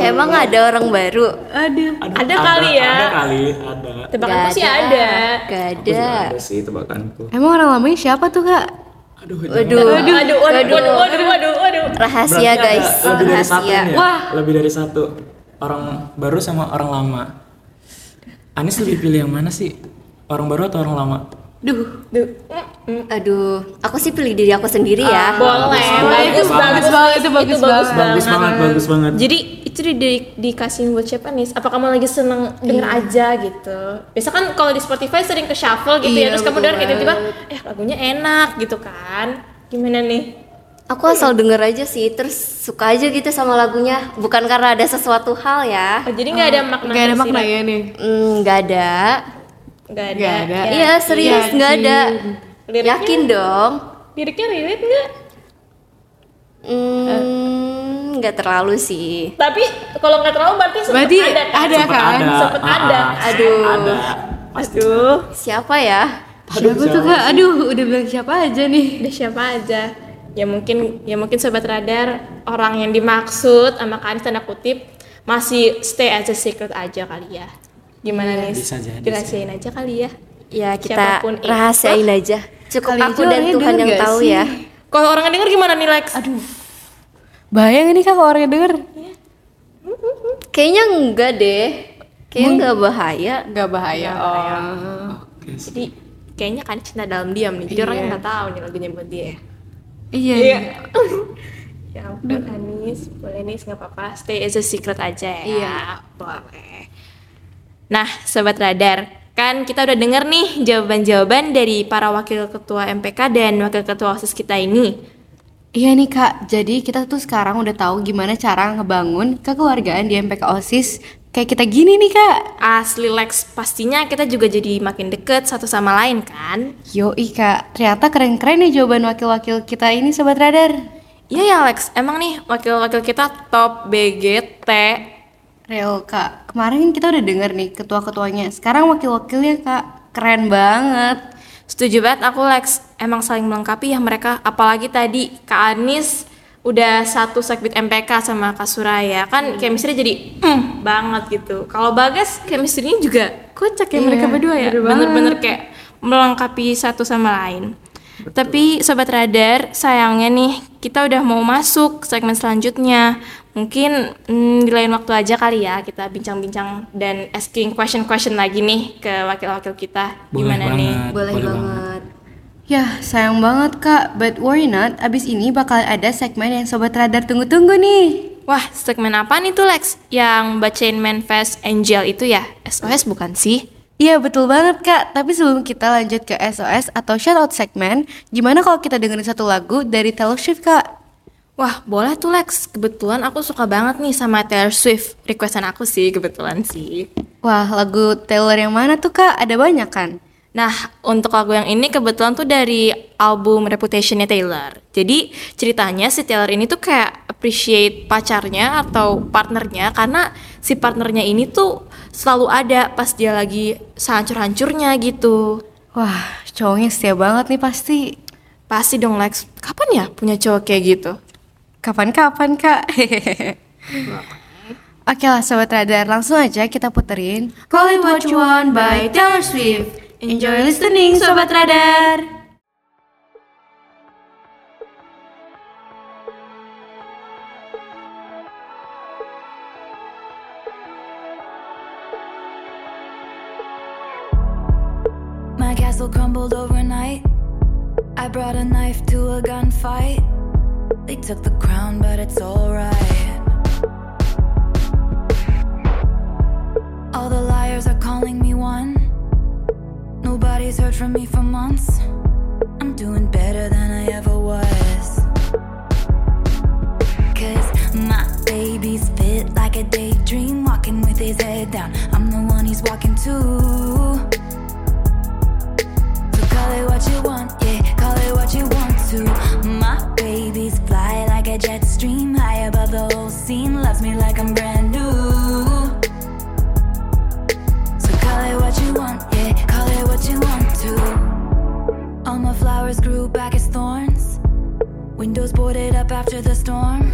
Speaker 5: Emang ada orang baru?
Speaker 4: Aduh,
Speaker 1: Ada kali ya.
Speaker 4: Ada kali, ada.
Speaker 1: Tebakanku sih ada.
Speaker 5: Gak
Speaker 4: Aku
Speaker 5: ada.
Speaker 4: juga ada sih tebakanku.
Speaker 2: Emang orang lamanya siapa tuh, Kak?
Speaker 4: Aduh,
Speaker 5: Waduh,
Speaker 1: Aduh, aduh, waduh, waduh, waduh, waduh, waduh.
Speaker 5: rahasia guys,
Speaker 4: lebih dari satu
Speaker 5: rahasia.
Speaker 4: nih ya? Wah. Lebih dari satu. Orang baru sama orang lama. Anies lebih pilih yang mana sih? Orang baru atau orang lama?
Speaker 2: Duh,
Speaker 5: Aduh, aku sih pilih diri aku sendiri ya.
Speaker 1: Boleh, bagus, bagus,
Speaker 2: banget, itu bagus banget.
Speaker 4: Bagus banget, bagus banget.
Speaker 1: Nah, Jadi itu di, di- dikasihin buat siapa nih? Apa kamu lagi seneng denger
Speaker 2: Iya.
Speaker 1: aja gitu? Biasa kan kalau di Spotify sering ke shuffle gitu ya,
Speaker 2: Iya,
Speaker 1: terus kamu
Speaker 2: betul
Speaker 1: denger kayak tiba-tiba, eh lagunya enak gitu kan? Gimana nih?
Speaker 5: Aku asal denger aja sih, terus suka aja gitu sama lagunya. Bukan karena ada sesuatu hal ya.
Speaker 1: Oh, jadi nggak ada
Speaker 2: Gak Ah,
Speaker 1: makna?
Speaker 2: ada
Speaker 1: tersirat?
Speaker 2: maknanya nih.
Speaker 5: Hmm, gak ada.
Speaker 1: Nggak ada.
Speaker 2: Nggak ada.
Speaker 1: Ya.
Speaker 5: Iya, serius nggak ada.
Speaker 1: Liriknya?
Speaker 5: Yakin dong.
Speaker 1: Liriknya relate nggak?
Speaker 5: Hmm, nggak terlalu sih.
Speaker 1: Tapi kalau nggak terlalu berarti sempet
Speaker 2: Berarti
Speaker 1: ada kan?
Speaker 2: ada
Speaker 4: Sempet
Speaker 2: kan?
Speaker 4: ada.
Speaker 1: Sempet
Speaker 4: ah,
Speaker 1: ada.
Speaker 4: ah, sempet
Speaker 5: Aduh.
Speaker 4: Ada.
Speaker 1: Aduh,
Speaker 5: Siapa ya?
Speaker 2: Siapa tuh, Kak? Aduh, udah bilang siapa aja nih.
Speaker 1: udah siapa aja? Ya mungkin ya mungkin sobat radar orang yang dimaksud sama Kak Anies tanda kutip masih stay as a secret aja kali ya. Gimana
Speaker 4: Iya,
Speaker 1: nih?
Speaker 4: bisa jadi
Speaker 1: Dirahasiain aja kali ya.
Speaker 5: Ya kita
Speaker 1: Siapapun itu.
Speaker 5: rahasiain aja. Cukup
Speaker 2: Kali
Speaker 5: aku dan
Speaker 2: aja orangnya
Speaker 5: Tuhan
Speaker 2: denger
Speaker 5: yang
Speaker 2: nggak
Speaker 5: tahu
Speaker 2: sih?
Speaker 5: ya.
Speaker 1: Kalau orang denger gimana nih Lex? Aduh.
Speaker 2: Bahaya nggak nih, Kak, kalau orangnya denger?
Speaker 5: Kayaknya enggak deh. Kayaknya enggak bahaya.
Speaker 2: Gak bahaya, oh.
Speaker 1: Jadi Iya. kayaknya kan cinta dalam diam nih. Jadi orang yang nggak tahu nih lagunya buat dia. ya.
Speaker 2: Iya.
Speaker 1: ya ampun Anis, boleh nih nggak apa-apa. Stay as a secret aja ya.
Speaker 2: Iya.
Speaker 1: Boleh. Nah, sobat radar, kan kita udah denger nih jawaban-jawaban dari para wakil ketua MPK dan wakil ketua OSIS kita ini.
Speaker 2: Iya nih kak, jadi kita tuh sekarang udah tahu gimana cara ngebangun kekeluargaan di MPK OSIS kayak kita gini nih kak.
Speaker 1: Asli Lex, pastinya kita juga jadi makin deket satu sama lain kan?
Speaker 2: Yoi kak, ternyata keren-keren nih jawaban wakil-wakil kita ini Sobat Radar.
Speaker 1: Iya ya Lex, emang nih wakil-wakil kita top BGT
Speaker 2: Reo kak, kemarin kan kita udah denger nih ketua-ketuanya. Sekarang wakil-wakilnya kak, keren banget.
Speaker 1: Setuju banget aku Lex emang saling melengkapi ya mereka apalagi tadi Kak Anis udah satu segbit MPK sama Kak Suraya kan chemistry jadi mm, banget gitu. Kalau Bagas chemistry-nya juga kocak ya mereka berdua ya. Bener-bener kayak melengkapi satu sama lain. Tapi sobat radar, sayangnya nih kita udah mau masuk segmen selanjutnya. Mungkin mm, di lain waktu aja kali ya kita bincang-bincang dan asking question-question lagi nih ke wakil-wakil kita.
Speaker 3: Boleh
Speaker 1: Gimana nih?
Speaker 3: banget.
Speaker 5: Boleh
Speaker 3: boleh
Speaker 5: banget.
Speaker 2: Yah, Ya, sayang banget kak, but worry not, abis ini bakal ada segmen yang Sobat Radar tunggu-tunggu nih.
Speaker 1: Wah, segmen apa nih tuh Lex? Yang bacain manifest Angel itu ya? SOS bukan sih?
Speaker 2: Iya betul banget kak, tapi sebelum kita lanjut ke SOS atau shoutout segmen, gimana kalau kita dengerin satu lagu dari Taylor Swift kak?
Speaker 1: Wah, boleh tuh Lex. Kebetulan aku suka banget nih sama Taylor Swift. Requestan aku sih, kebetulan sih.
Speaker 2: Wah lagu Taylor yang mana tuh kak? Ada banyak kan?
Speaker 1: Nah, untuk lagu yang ini kebetulan tuh dari album Reputation-nya Taylor. Jadi, ceritanya si Taylor ini tuh kayak appreciate pacarnya atau partnernya karena si partnernya ini tuh selalu ada pas dia lagi sehancur-hancurnya gitu.
Speaker 2: Wah cowoknya setia banget nih pasti.
Speaker 1: Pasti dong Lex, kapan ya punya cowok kayak gitu?
Speaker 2: Kapan-kapan kak? Oke lah Sobat Radar, langsung aja kita puterin Call It What You Want by Taylor Swift Enjoy listening Sobat Radar
Speaker 7: My castle crumbled overnight. I brought a knife to a gunfight. They took the crown, but it's alright. All the liars are calling me one. Nobody's heard from me for months. I'm doing better than I ever was. Cause my baby's fit like a daydream, walking with his head down. I'm the one he's walking to. So call it what you want, yeah, call it what you want to. My babies fly like a jet stream, high above the whole scene, loves me like I'm brand new. So call it what you want, yeah, call it what you want to. All my flowers grew back as thorns, windows boarded up after the storm.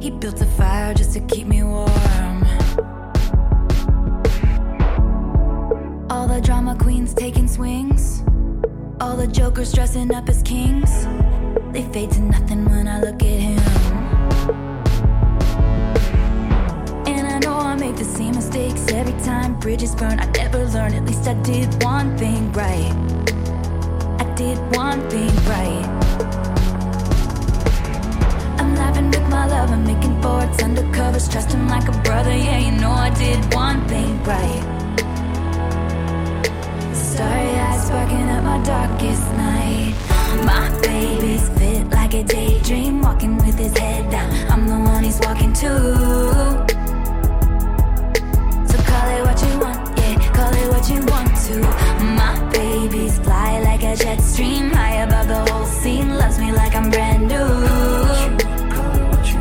Speaker 7: He built a fire just to keep me warm. All the drama queens taking swings. All the jokers dressing up as kings. They fade to nothing when I look at him. And I know I make the same mistakes every time bridges burn. I never learn, at least I did one thing right. I did one thing right. I'm laughing with my love, I'm making forts undercovers, trust him like a brother. Yeah, you know I did one thing right. Starry eyes sparking up my darkest night. My baby's fit like a daydream, walking with his head down. I'm the one he's walking to. So call it what you want, yeah, call it what you want to. My baby's fly like a jet stream, high above the whole scene. Loves me like I'm brand new. So call it what you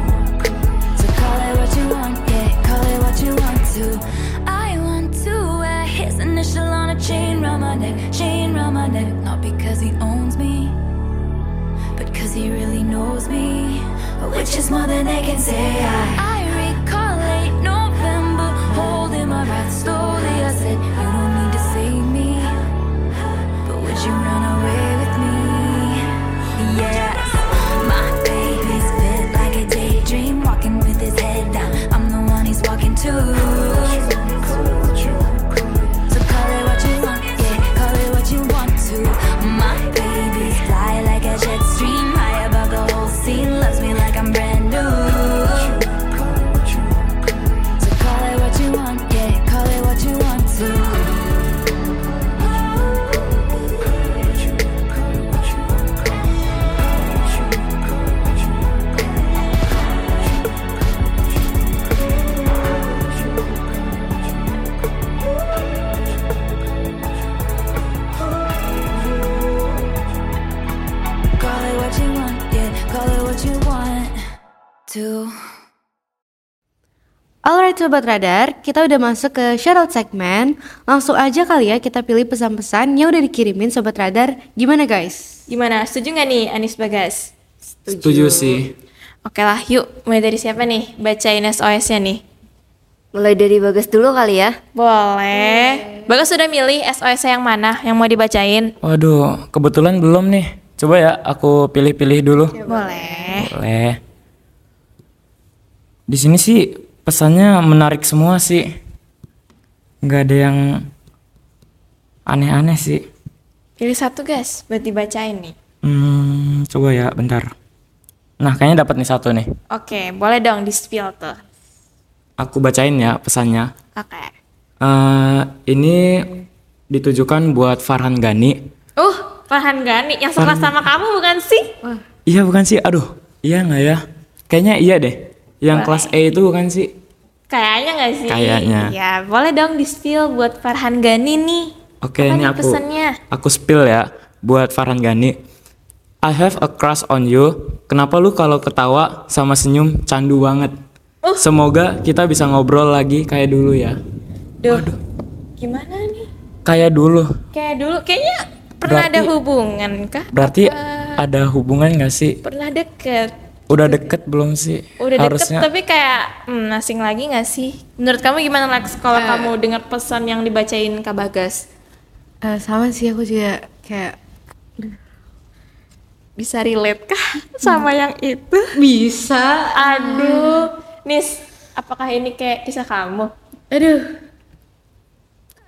Speaker 7: want, yeah, call it what you want to. I want to wear his initial on a chain round my neck, chain round my neck. Not because he owns me, but because he really knows me. Which is more than they can say. I, I recall late November, holding my breath slowly. I said, You don't need to save me, but would you run away with me? Yes. My baby's fit like a daydream, walking with his head down. I'm the one he's walking to. So call it what you want, yeah, call it what you want to. My baby's fly like a jet stream, high above the whole scene. Loves me like I'm brand new.
Speaker 2: Alright Sobat Radar, kita udah masuk ke shoutout segmen Langsung aja kali ya kita pilih pesan-pesan yang udah dikirimin Sobat Radar Gimana guys?
Speaker 1: Gimana? Setuju nggak nih Anis Bagas?
Speaker 4: Setuju sih.
Speaker 1: Oke lah, yuk mulai dari siapa nih bacain SOS-nya nih?
Speaker 5: Mulai dari Bagas dulu kali ya.
Speaker 1: Boleh. Bagas sudah milih SOS yang mana yang mau dibacain?
Speaker 4: Waduh, kebetulan belum nih. Coba ya aku pilih-pilih dulu.
Speaker 1: Boleh.
Speaker 4: Boleh. Di sini sih pesannya menarik semua sih. Nggak ada yang aneh-aneh sih.
Speaker 1: Pilih satu guys buat dibacain nih.
Speaker 4: Hmm, coba ya, bentar. Nah, kayaknya dapat nih satu nih.
Speaker 1: Oke, boleh dong di spill tuh.
Speaker 4: Aku bacain ya pesannya.
Speaker 1: Oke.
Speaker 4: Eh, ini ditujukan buat Farhan Gani.
Speaker 1: Uh, Farhan Gani yang sekelas sama kamu bukan sih?
Speaker 4: Iya bukan sih? Aduh, iya nggak ya? Kayaknya iya deh. Yang kelas E itu bukan sih?
Speaker 1: Kayaknya nggak sih?
Speaker 4: Kayaknya.
Speaker 1: Ya, boleh dong di spill buat Farhan Gani nih.
Speaker 4: Oke,
Speaker 1: Apa
Speaker 4: ini
Speaker 1: nih
Speaker 4: aku
Speaker 1: pesannya?
Speaker 4: aku spill ya buat Farhan Gani. I have a crush on you. Kenapa lu kalau ketawa sama senyum candu banget?
Speaker 1: Uh.
Speaker 4: Semoga kita bisa ngobrol lagi kayak dulu ya.
Speaker 1: Duh, gimana nih?
Speaker 4: Kayak dulu.
Speaker 1: Kayak dulu, kayaknya pernah ada
Speaker 4: Berarti-
Speaker 1: hubungan kah?
Speaker 4: Berarti ada hubungan gak sih?
Speaker 1: Pernah deket?
Speaker 4: Udah deket belum sih?
Speaker 1: Udah
Speaker 4: Harusnya.
Speaker 1: deket tapi kayak hmm, asing lagi nggak sih? Menurut kamu gimana Lex kalau kamu dengar pesan yang dibacain Kak Bagas?
Speaker 2: Eh, sama sih aku juga kayak
Speaker 1: Bisa relate kah (laughs) sama yang itu?
Speaker 2: bisa
Speaker 1: Aduh, Nis, apakah ini kayak kisah kamu?
Speaker 2: Aduh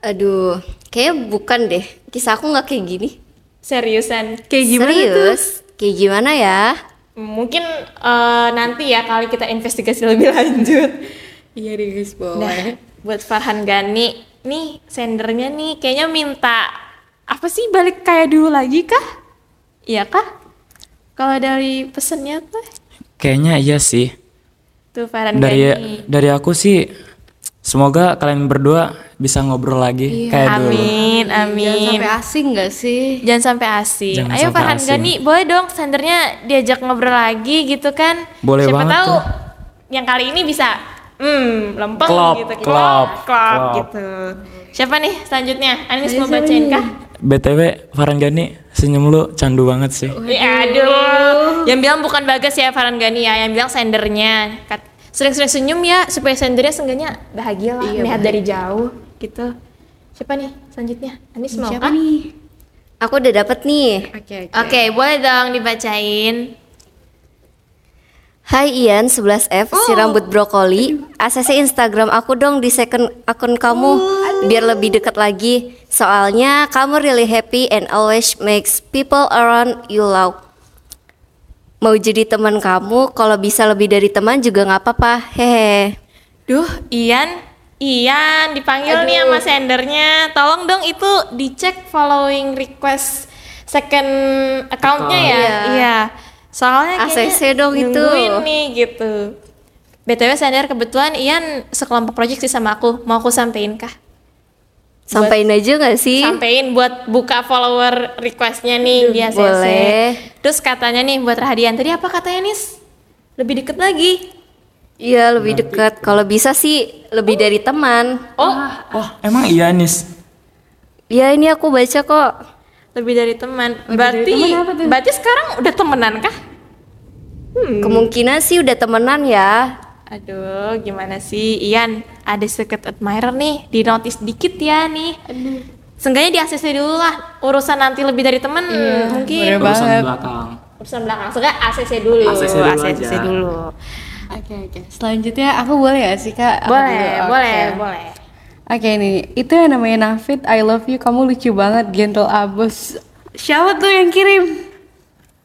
Speaker 5: Aduh, kayaknya bukan deh. Kisah aku nggak kayak gini.
Speaker 1: Seriusan?
Speaker 2: Kayak gimana tuh?
Speaker 5: Serius? Kayak gimana ya?
Speaker 1: Mungkin eh, nanti ya kali kita investigasi lebih (laughs) lanjut.
Speaker 2: Iya deh guys,
Speaker 1: Nah, buat Farhan Gani, nih sendernya nih kayaknya minta apa sih balik kayak dulu lagi kah? Iya kah? Kalau dari pesennya tuh,
Speaker 4: Kayaknya iya sih.
Speaker 1: tuh Farhan
Speaker 4: Dari ya,
Speaker 1: Gani.
Speaker 4: dari aku sih semoga kalian berdua bisa ngobrol lagi kayak dulu.
Speaker 1: Amin,
Speaker 2: Jangan
Speaker 1: amin.
Speaker 2: Iya, sampai asing gak sih?
Speaker 1: Jangan sampai asing.
Speaker 4: Jangan
Speaker 1: Ayo
Speaker 4: sampai
Speaker 1: Farhan
Speaker 4: asing.
Speaker 1: Gani, boleh dong sendernya diajak ngobrol lagi gitu kan?
Speaker 4: Boleh
Speaker 1: Siapa
Speaker 4: banget
Speaker 1: tahu
Speaker 4: tuh.
Speaker 1: yang kali ini bisa hmm, lempeng
Speaker 4: Klop,
Speaker 1: gitu.
Speaker 4: klop,
Speaker 1: klop, klop
Speaker 4: klop.
Speaker 1: gitu. Siapa nih selanjutnya? Anis mau bacain kah?
Speaker 4: BTW Farhan Gani senyum lu candu banget sih.
Speaker 1: Ya aduh. Yang bilang bukan Bagas ya Farhan Gani ya, yang bilang sendernya. Kat- Sering-sering senyum ya supaya sendernya seenggaknya bahagia
Speaker 2: Iya,
Speaker 1: lah melihat dari jauh gitu. Siapa nih selanjutnya? Anis mau
Speaker 2: Siapa
Speaker 1: kah?
Speaker 2: nih?
Speaker 5: Aku udah dapet nih.
Speaker 2: Oke, oke.
Speaker 1: Oke, boleh dong dibacain.
Speaker 5: Hai Ian 11F, si rambut brokoli. ACC Instagram aku dong di second akun kamu biar lebih dekat lagi. Soalnya kamu really happy and always makes people around you laugh. Mau jadi teman kamu, kalau bisa lebih dari teman juga nggak apa-apa. Hehe.
Speaker 1: Duh, Ian, Ian dipanggil nih sama sendernya. Tolong dong itu dicek following request second accountnya ya. Iya. Soalnya
Speaker 5: ACC
Speaker 1: kayaknya
Speaker 5: dong itu.
Speaker 1: nungguin nih gitu. BTW sender kebetulan Ian sekelompok project sih sama aku. Mau aku sampein kah?
Speaker 5: Sampaiin aja nggak sih?
Speaker 1: Sampein buat buka follower requestnya nih di ACC.
Speaker 5: boleh.
Speaker 1: Terus katanya nih buat Rahadian tadi apa katanya Nis? Lebih deket lagi.
Speaker 5: Iya lebih dekat. Kalau bisa sih lebih dari teman.
Speaker 1: Oh,
Speaker 4: Wah, emang iya Nis.
Speaker 5: Ya ini aku baca kok.
Speaker 1: lebih dari teman. berarti berarti sekarang udah temenan kah?
Speaker 5: Kemungkinan sih udah temenan ya.
Speaker 1: Aduh, gimana sih Ian? Ada secret admirer nih, di notice dikit ya nih. Seenggaknya di ACC dulu lah, urusan nanti lebih dari teman
Speaker 2: Iya,
Speaker 1: mungkin.
Speaker 4: Urusan belakang.
Speaker 1: Urusan belakang, seenggaknya ACC dulu.
Speaker 4: ACC dulu
Speaker 1: ACC
Speaker 4: aja.
Speaker 1: dulu.
Speaker 2: Oke, oke. Selanjutnya aku boleh gak sih kak? Aku
Speaker 1: Boleh,
Speaker 2: dulu, oke.
Speaker 1: boleh, boleh.
Speaker 2: Oke nih, itu yang namanya Nafit, I love you, kamu lucu banget, gentle abis. Siapa tuh yang kirim?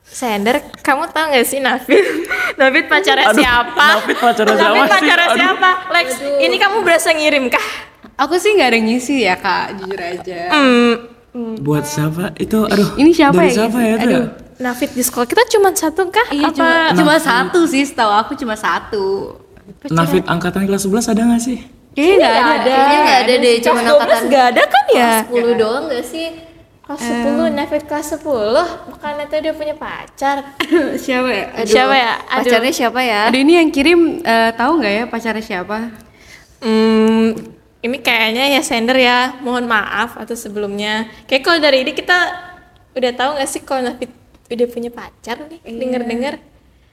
Speaker 1: Sender, kamu tau gak sih Nafid? (laughs) Nafid pacarnya siapa?
Speaker 4: Nafid pacarnya
Speaker 1: Nafid
Speaker 4: siapa sih?
Speaker 1: pacarnya
Speaker 4: Aduh.
Speaker 1: siapa? Lex, ini kamu berasa ngirim kah?
Speaker 2: Aku sih nggak ada ngisi ya kak, jujur aja.
Speaker 4: Buat siapa? Itu aduh.
Speaker 2: Ini siapa
Speaker 4: dari
Speaker 2: ya,
Speaker 4: siapa
Speaker 2: Nis?
Speaker 4: ya itu? ya?
Speaker 2: Aduh.
Speaker 1: Nafid di sekolah kita cuma satu kah?
Speaker 2: Iya, cuma, cuma satu sih, setahu aku cuma satu.
Speaker 4: Nafid angkatan kelas 11 ada gak sih?
Speaker 2: Kayaknya nggak ada. Iya.
Speaker 5: Kayaknya nggak ada deh, cuma angkatan
Speaker 1: Gak Iya, ada kan ya?
Speaker 5: 10 doang nggak sih?
Speaker 1: Kelas 10, Nafid kelas 10 Makanya tuh dia punya pacar
Speaker 2: siapa ya?
Speaker 1: Siapa ya? Aduh.
Speaker 5: Pacarnya siapa ya?
Speaker 2: Ada ini yang kirim eh, tahu nggak ya pacarnya siapa?
Speaker 1: Hmm, ini kayaknya ya sender ya. Mohon maaf atau sebelumnya. Kayak kalau dari ini kita udah tahu nggak sih kalau Nafit udah punya pacar nih? Dengar-dengar.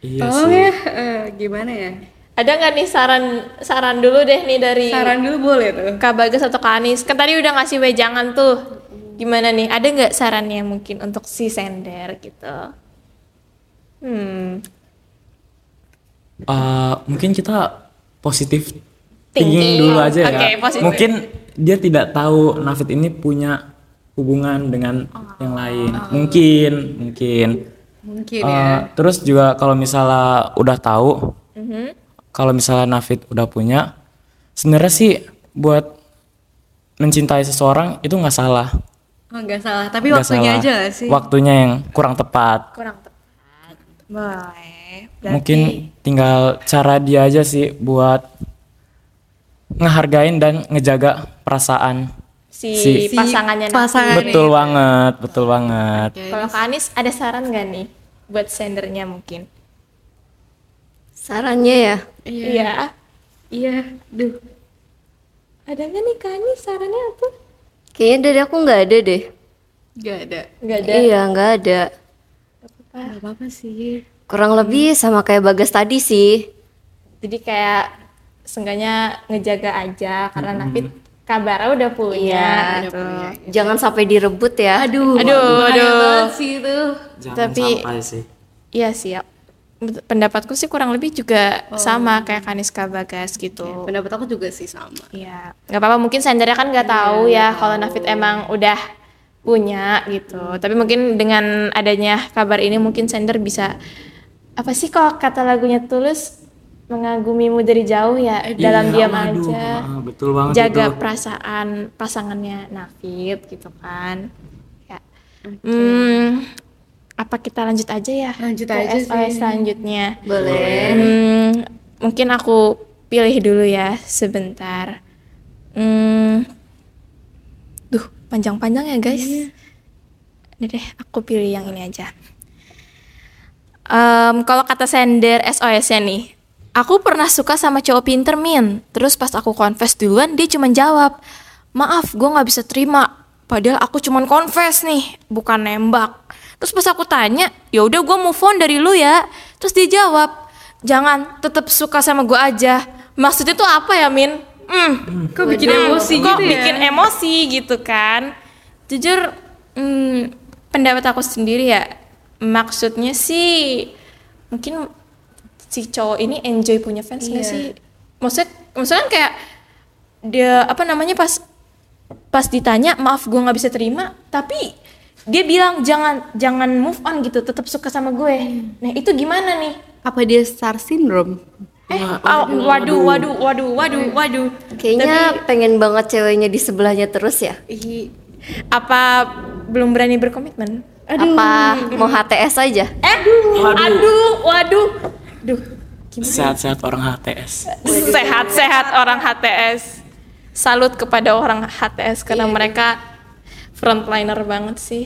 Speaker 4: Iya
Speaker 2: Tolong
Speaker 4: sih.
Speaker 2: ya, eh, gimana ya?
Speaker 1: Ada nggak nih saran saran dulu deh nih dari
Speaker 2: Saran dulu boleh tuh.
Speaker 1: Kak Bagas atau Kak Anis? Kan tadi udah ngasih wejangan tuh. Gimana nih? Ada nggak sarannya mungkin untuk si sender gitu? Hmm,
Speaker 4: Eh, mungkin kita positif
Speaker 1: Thinking.
Speaker 4: thinking dulu aja ya.
Speaker 1: Oke, positive.
Speaker 4: Mungkin dia tidak tahu Nafit ini punya hubungan dengan yang lain. Mungkin, mungkin.
Speaker 2: Mungkin
Speaker 4: Eh,
Speaker 2: ya.
Speaker 4: Terus juga kalau misalnya udah tahu, kalau misalnya Nafit udah punya, sebenarnya sih buat mencintai seseorang itu nggak salah.
Speaker 2: Oh, nggak salah, tapi
Speaker 4: Nggak
Speaker 2: waktunya
Speaker 4: salah.
Speaker 2: aja gak sih?
Speaker 4: Waktunya yang kurang tepat.
Speaker 1: kurang tepat. Boleh. Berarti-
Speaker 4: mungkin tinggal cara dia aja sih buat ngehargain dan ngejaga perasaan
Speaker 1: si,
Speaker 4: Si-
Speaker 1: pasangannya nanti.
Speaker 2: pasangan
Speaker 4: betul banget betul banget
Speaker 1: Kalau Kak Anies ada saran nggak nih buat sendernya mungkin?
Speaker 5: Sarannya ya,
Speaker 1: Iya.
Speaker 2: Iya, duh.
Speaker 1: Ada nggak nih Kak Anies sarannya apa?
Speaker 5: kayaknya dari aku nggak ada deh.
Speaker 2: Gak ada.
Speaker 1: Nggak ada.
Speaker 5: Iya, nggak ada.
Speaker 2: Gak apa-apa sih.
Speaker 5: Kurang lebih sama kayak Bagas tadi sih.
Speaker 1: Jadi kayak seenggaknya ngejaga aja karena Nafit kabarnya udah punya. gitu.
Speaker 5: Jangan sampai direbut ya.
Speaker 2: Aduh,
Speaker 1: Aduh,
Speaker 2: bahaya
Speaker 1: aduh.
Speaker 2: banget sih itu.
Speaker 4: Jangan
Speaker 1: Tapi-
Speaker 4: sampai sih
Speaker 1: Iya sih. Ya. Bet- Pendapatku sih kurang lebih juga sama kayak Kanis Kabagas gitu.
Speaker 2: Oh. Iya, Pendapat aku juga sih sama. Iya,
Speaker 1: Iya. Nggak apa-apa mungkin sendernya kan nggak tahu ya kalau Nafit emang udah punya gitu. Tapi mungkin dengan adanya kabar ini mungkin sender bisa apa sih kalau kata lagunya Tulus mengagumimu dari jauh ya dalam
Speaker 4: Iya,
Speaker 1: diam
Speaker 4: aduh,
Speaker 1: aja.
Speaker 4: ah, betul banget
Speaker 1: jaga
Speaker 4: itu.
Speaker 1: perasaan pasangannya Nafit gitu kan. Ya. Hmm, apa kita lanjut aja ya?
Speaker 2: Lanjut
Speaker 1: ke
Speaker 2: aja sih.
Speaker 1: SOS selanjutnya.
Speaker 5: Boleh.
Speaker 1: Hmm, mungkin aku pilih dulu ya sebentar. Hmm, duh panjang-panjang ya guys.
Speaker 2: Iya.
Speaker 1: Ini deh aku pilih yang ini aja. Em, kalau kata sender SOS-nya nih, aku pernah suka sama cowok pinter min. Terus pas aku confess duluan dia cuman jawab, maaf gue nggak bisa terima. Padahal aku cuman confess nih, bukan nembak. Terus pas aku tanya, ya udah gue move on dari lu ya. Terus dia jawab, jangan, tetap suka sama gue aja. Maksudnya tuh apa ya min? Hmm,
Speaker 2: Kok bikin emosi gitu
Speaker 1: kok
Speaker 2: ya?
Speaker 1: bikin emosi gitu kan jujur hmm, pendapat aku sendiri ya maksudnya sih mungkin si cowok ini enjoy punya fans
Speaker 2: Iya.
Speaker 1: nggak sih maksud maksudnya kan kayak dia apa namanya pas pas ditanya maaf gue nggak bisa terima tapi dia bilang jangan jangan move on gitu tetap suka sama gue nah itu gimana nih
Speaker 2: Apa dia star syndrome?
Speaker 1: eh aw- waduh waduh waduh waduh waduh
Speaker 5: Kayaknya pengen banget ceweknya di sebelahnya terus ya.
Speaker 1: Ih, apa belum berani berkomitmen?
Speaker 5: Apa mau HTS aja?
Speaker 1: Aduh, Eh, aduh, waduh, duh,
Speaker 4: sehat-sehat orang HTS
Speaker 1: sehat-sehat orang HTS. Salut kepada orang HTS karena mereka frontliner banget sih.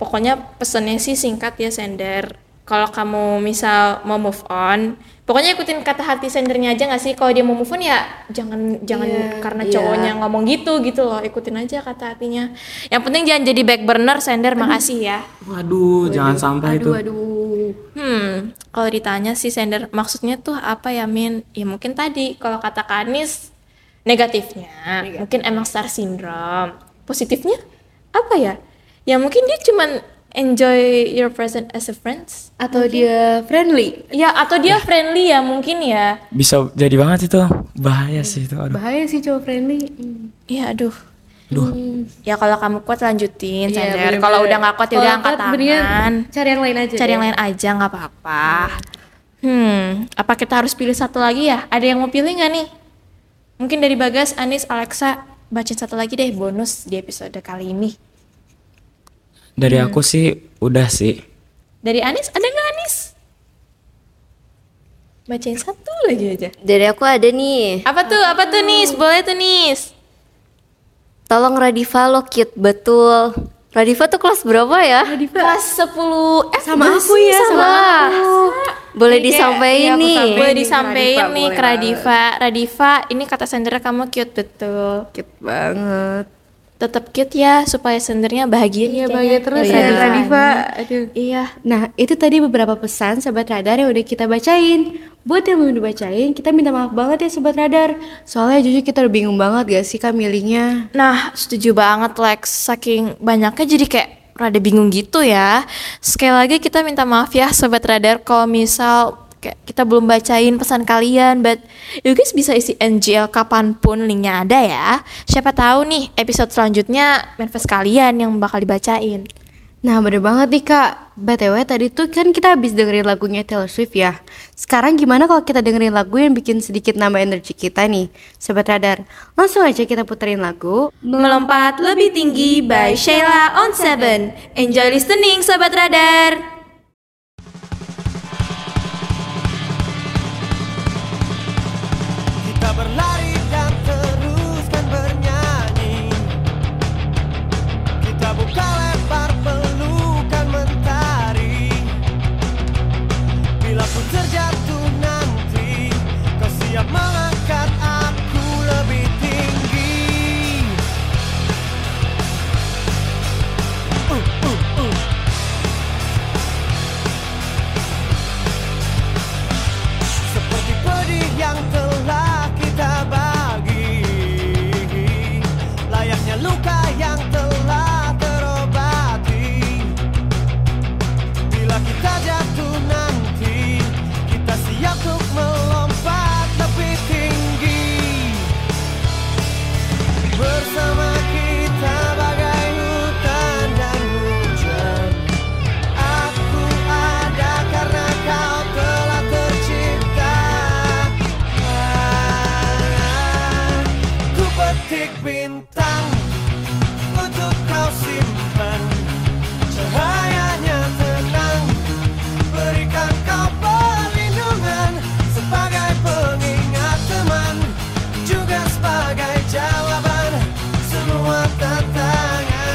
Speaker 1: Pokoknya pesannya sih singkat ya sender. Kalau kamu misal mau move on, pokoknya ikutin kata hati sendernya aja nggak sih? Kalau dia mau move on ya jangan jangan karena cowoknya ngomong gitu gitu loh, ikutin aja kata hatinya. Yang penting jangan jadi back burner sender, makasih ya.
Speaker 4: waduh, jangan sampai itu
Speaker 2: Aduh.
Speaker 1: Hmm, kalau ditanya sih sender maksudnya tuh apa ya Min? Ya mungkin tadi kalau kata Kanis negatifnya mungkin emang star syndrome. Positifnya apa ya? Ya mungkin dia cuman enjoy your present as a friends.
Speaker 2: Atau dia friendly?
Speaker 1: Ya atau dia friendly ya mungkin ya.
Speaker 4: bisa jadi banget itu bahaya sih itu aduh
Speaker 2: Bahaya sih cowok friendly.
Speaker 1: Ya aduh.
Speaker 4: Aduh.
Speaker 1: Ya kalau kamu kuat lanjutin
Speaker 2: Iya,
Speaker 1: sender.
Speaker 2: bener-bener.
Speaker 1: Kalau udah nggak kuat ya udah
Speaker 2: Kalau
Speaker 1: angkat
Speaker 2: kuat, mendingan
Speaker 1: tangan.
Speaker 2: Cari yang lain aja.
Speaker 1: Cari yang
Speaker 2: deh.
Speaker 1: lain aja nggak apa-apa. Hmm, apa kita harus pilih satu lagi ya? Ada yang mau pilih nggak nih? Mungkin dari Bagas, Anis, Alexa, bacain satu lagi deh bonus di episode kali ini.
Speaker 4: dari aku sih udah sih
Speaker 1: Dari Anis, ada nggak Anis? Bacain satu lagi aja.
Speaker 5: Dari aku ada nih.
Speaker 1: Apa tuh? Apa tuh Nis? Boleh tuh Nis?
Speaker 5: Tolong Radiva lo cute betul. Radifa tuh kelas berapa ya?
Speaker 1: Kelas Eh, 10 F
Speaker 2: Sama
Speaker 1: gak
Speaker 2: aku
Speaker 1: sih?
Speaker 2: ya, sama
Speaker 5: Wah, boleh disampaikan
Speaker 2: Jadi kayak, iya, aku
Speaker 5: nih.
Speaker 2: sampein. Ini
Speaker 1: Boleh
Speaker 2: ke
Speaker 1: disampaikan
Speaker 2: Radifa,
Speaker 1: nih
Speaker 2: boleh
Speaker 1: ke Radifa Radifa ini kata sendiri kamu cute betul
Speaker 2: Cute banget.
Speaker 1: Tetap cute ya supaya sendernya bahagia nih
Speaker 2: Iya
Speaker 1: kayaknya.
Speaker 2: bahagia terus
Speaker 1: Iya.
Speaker 2: ya Radifa. Aduh.
Speaker 1: Iya
Speaker 2: Nah, itu tadi beberapa pesan Sobat Radar yang udah kita bacain. Buat yang belum dibacain, kita minta maaf banget ya Sobat Radar. Soalnya jujur kita udah bingung banget gak sih kak milihnya.
Speaker 1: Nah, setuju banget Lex. Saking banyaknya jadi kayak rada bingung gitu ya. Sekali lagi kita minta maaf ya Sobat Radar kalau misal kayak kita belum bacain pesan kalian, but you guys bisa isi NGL kapanpun linknya ada ya. Siapa tahu nih episode selanjutnya manifest kalian yang bakal dibacain.
Speaker 2: Nah bener banget nih kak BTW tadi tuh kan kita habis dengerin lagunya Taylor Swift ya Sekarang gimana kalau kita dengerin lagu yang bikin sedikit nambah energi kita nih Sobat Radar Langsung aja kita puterin lagu
Speaker 1: Melompat lebih tinggi by Sheila on 7. Enjoy listening Sobat Radar.
Speaker 8: Kita berlari dan teruskan bernyanyi Kita buka lebar pelukan mentari Bila ku terjatuh nanti Kau siap mengangkat aku lebih tinggi Uh, uh, uh. Seperti pedih yang telah kita bagi Layaknya luka yang telah terobati Bila kita jatuh nanti Kita siap untuk melompat lebih tinggi Bersama kita bagai hutan dan hujan Aku ada karena kau telah tercipta Ku petik bintang untuk kau simpan Cahayanya tenang Berikan kau perlindungan Sebagai pengingat teman Juga sebagai jawaban Semua tantangan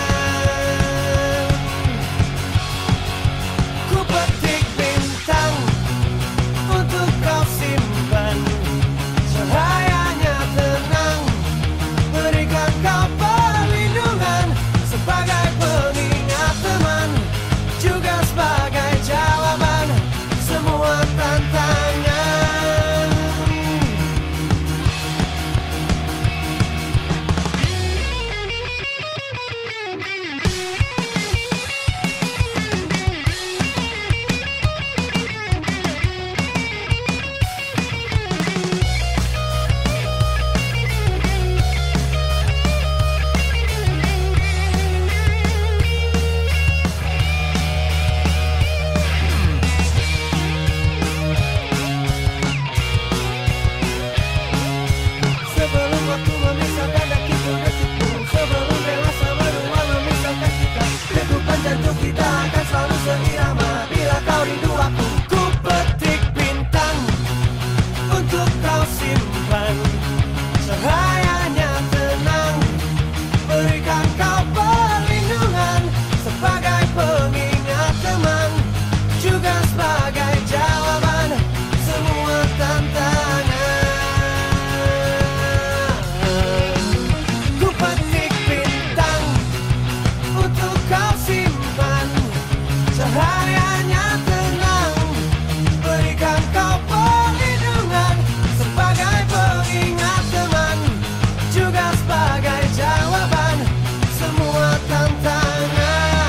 Speaker 8: Ku petik bintang untuk kau simpan Cahayanya tenang Berikan kau perlindungan Sebagai pengingat teman Juga sebagai jawaban Semua tantangan Sebelum waktu memisahkan kaki detikku Sebelum dewasa berdua memisahkan kita Degupan jantung kita akan selalu seirama Bila kau rindu aku Ku petik bintang Untuk kau simpan Cahayanya tenang Berikan kau perlindungan Sebagai pengingat teman Juga sebagai jawaban Semua tantangan Ku petik bintang Untuk kau simpan Cahayanya tenang Berikan kau perlindungan Sebagai pengingat teman Juga sebagai jawaban Semua tantangan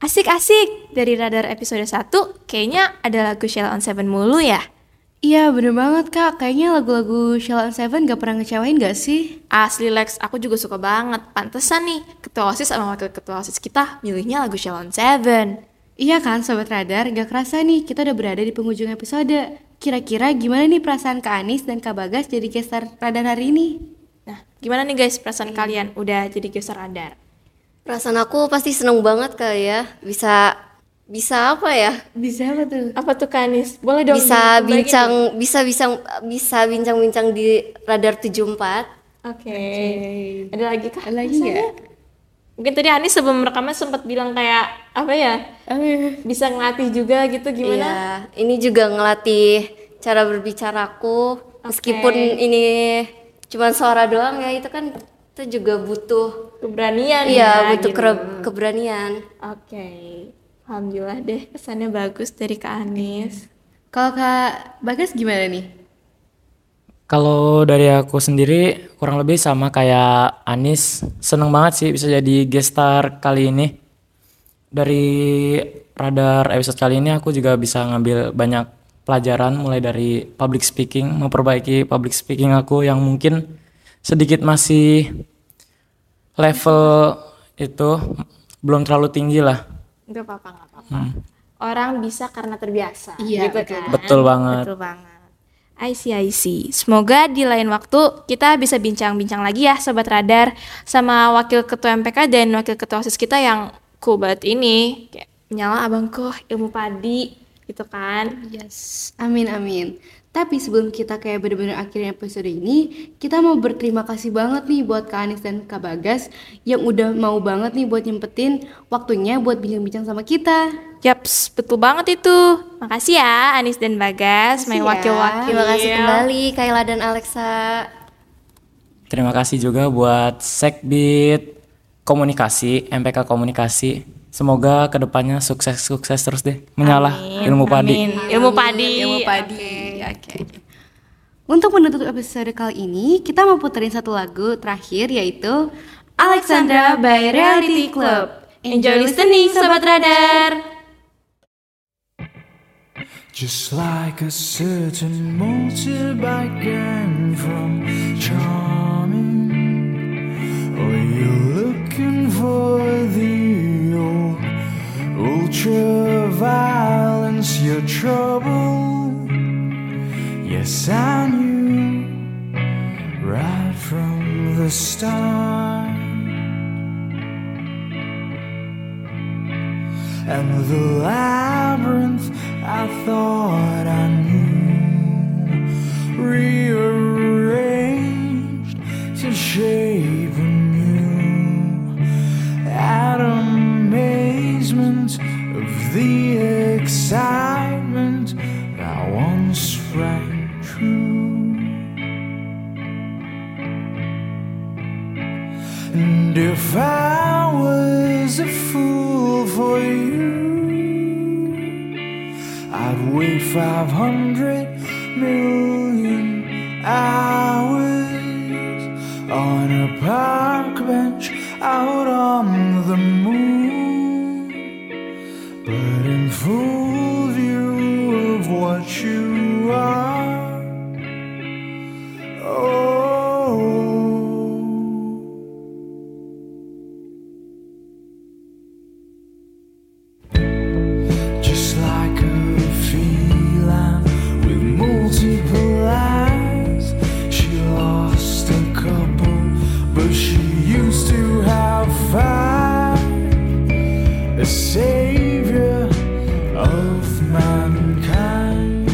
Speaker 1: Asik-asik dari Radar episode 1 kayaknya ada lagu Sheila on 7 mulu ya.
Speaker 2: Iya bener banget kak Kayaknya lagu-lagu Sheila on Seven gak pernah ngecewain gak sih?
Speaker 1: Asli Lex, aku juga suka banget. Pantesan nih, ketua OSIS sama wakil ketua OSIS kita milihnya lagu Sheila on 7.
Speaker 2: Iya kan Sobat Radar gak kerasa nih kita udah berada di penghujung episode Kira-kira gimana nih perasaan Kak Anis dan Kak Bagas jadi gestar Radar hari ini?
Speaker 1: Nah, gimana nih guys perasaan kalian udah jadi geser radar?
Speaker 5: Perasaan aku pasti seneng banget kali ya bisa bisa apa ya?
Speaker 2: Bisa apa tuh?
Speaker 1: Apa tuh Kanis? Boleh dong
Speaker 5: Bisa
Speaker 1: dibaikin.
Speaker 5: bincang bisa bisa bisa bincang-bincang di radar 74.
Speaker 1: Oke. Ada lagi kah?
Speaker 2: Ada lagi nggak?
Speaker 1: Mungkin tadi Anis sebelum rekaman sempat bilang kayak apa ya? Bisa ngelatih juga gitu gimana?
Speaker 5: Iya, ini juga ngelatih cara berbicaraku meskipun ini cuman suara doang ya itu kan itu juga butuh
Speaker 1: Keberanian ya,
Speaker 5: iya butuh
Speaker 1: gitu.
Speaker 5: kere- keberanian.
Speaker 1: Oke. Alhamdulillah deh kesannya bagus dari Kak Anis.
Speaker 2: Kalau Kak Bagas gimana nih?
Speaker 4: Kalau dari aku sendiri kurang lebih sama kayak Anis. Seneng banget sih bisa jadi guest star kali ini. Dari radar episode kali ini aku juga bisa ngambil banyak pelajaran mulai dari public speaking, memperbaiki public speaking aku yang mungkin sedikit masih level itu belum terlalu tinggi lah.
Speaker 1: Gak apa-apa, gak apa-apa. Orang bisa karena terbiasa,
Speaker 5: Iya,
Speaker 1: gitu kan?
Speaker 4: Betul banget.
Speaker 1: Betul banget. I see, I see. Semoga di lain waktu kita bisa bincang-bincang lagi ya Sobat Radar sama Wakil Ketua MPK dan Wakil Ketua OSIS kita yang cool banget ini. Kayak nyala abangku ilmu padi gitu kan.
Speaker 2: Yes, amin amin. Tapi sebelum kita kayak bener-bener akhirin episode ini, kita mau berterima kasih banget nih buat Kak Anis dan Kak Bagas yang udah mau banget nih buat nyempetin waktunya buat bincang-bincang sama kita.
Speaker 1: Yaps, betul banget itu. Makasih ya Anis dan Bagas,
Speaker 2: ya.
Speaker 1: main wakil-wakil.
Speaker 5: Terima kasih kembali Kayla dan Alexa.
Speaker 4: Terima kasih juga buat Sekbit Komunikasi, MPK Komunikasi. Semoga kedepannya sukses-sukses terus deh. Menyalah ilmu padi.
Speaker 1: Amin. Ilmu padi. Ilmu padi.
Speaker 2: Untuk menutup episode kali ini, kita mau puterin satu lagu terakhir yaitu Alexandra by Reality Club.
Speaker 1: Enjoy listening Sobat Radar.
Speaker 9: Just like a certain motorbike gang from Charming. Were you looking for the old ultra violence, your trouble? Yes, I knew right from the start. and the labyrinth I thought I knew rearranged to shape a new at amazement of the excitement that once rang true. And if I was a fool for you, I'd wait 500 million hours on a park bench out on the moon. But in full view of what you are, oh. just like a feline with multiple eyes. She lost a couple, but she used to have five. A savior of mankind.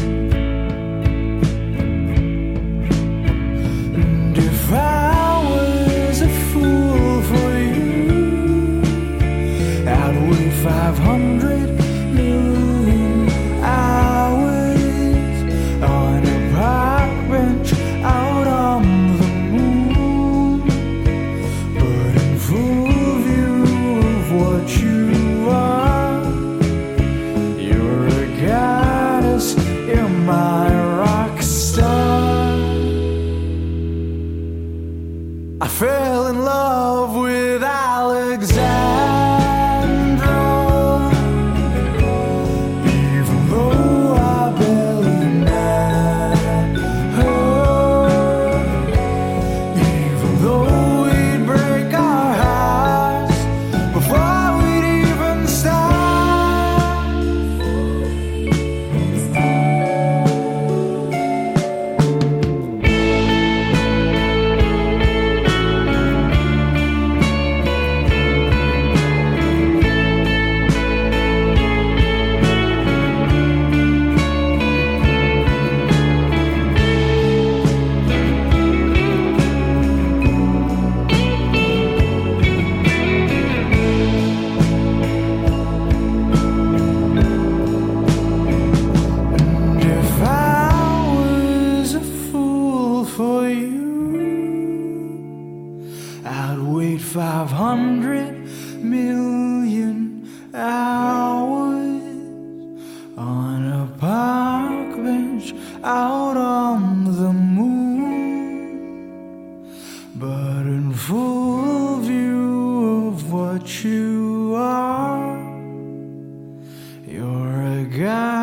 Speaker 9: And if I was a fool for you. I'd wait 500 million hours on a park bench out on the moon. But in full view of what you are, you're a goddess, you're my rock star. I fell in love with Alexandra. Even though I barely met her, even though we'd break our hearts before we'd even start. need 500 million hours on a park bench out on the moon, but in full view of what you are, you're a guy.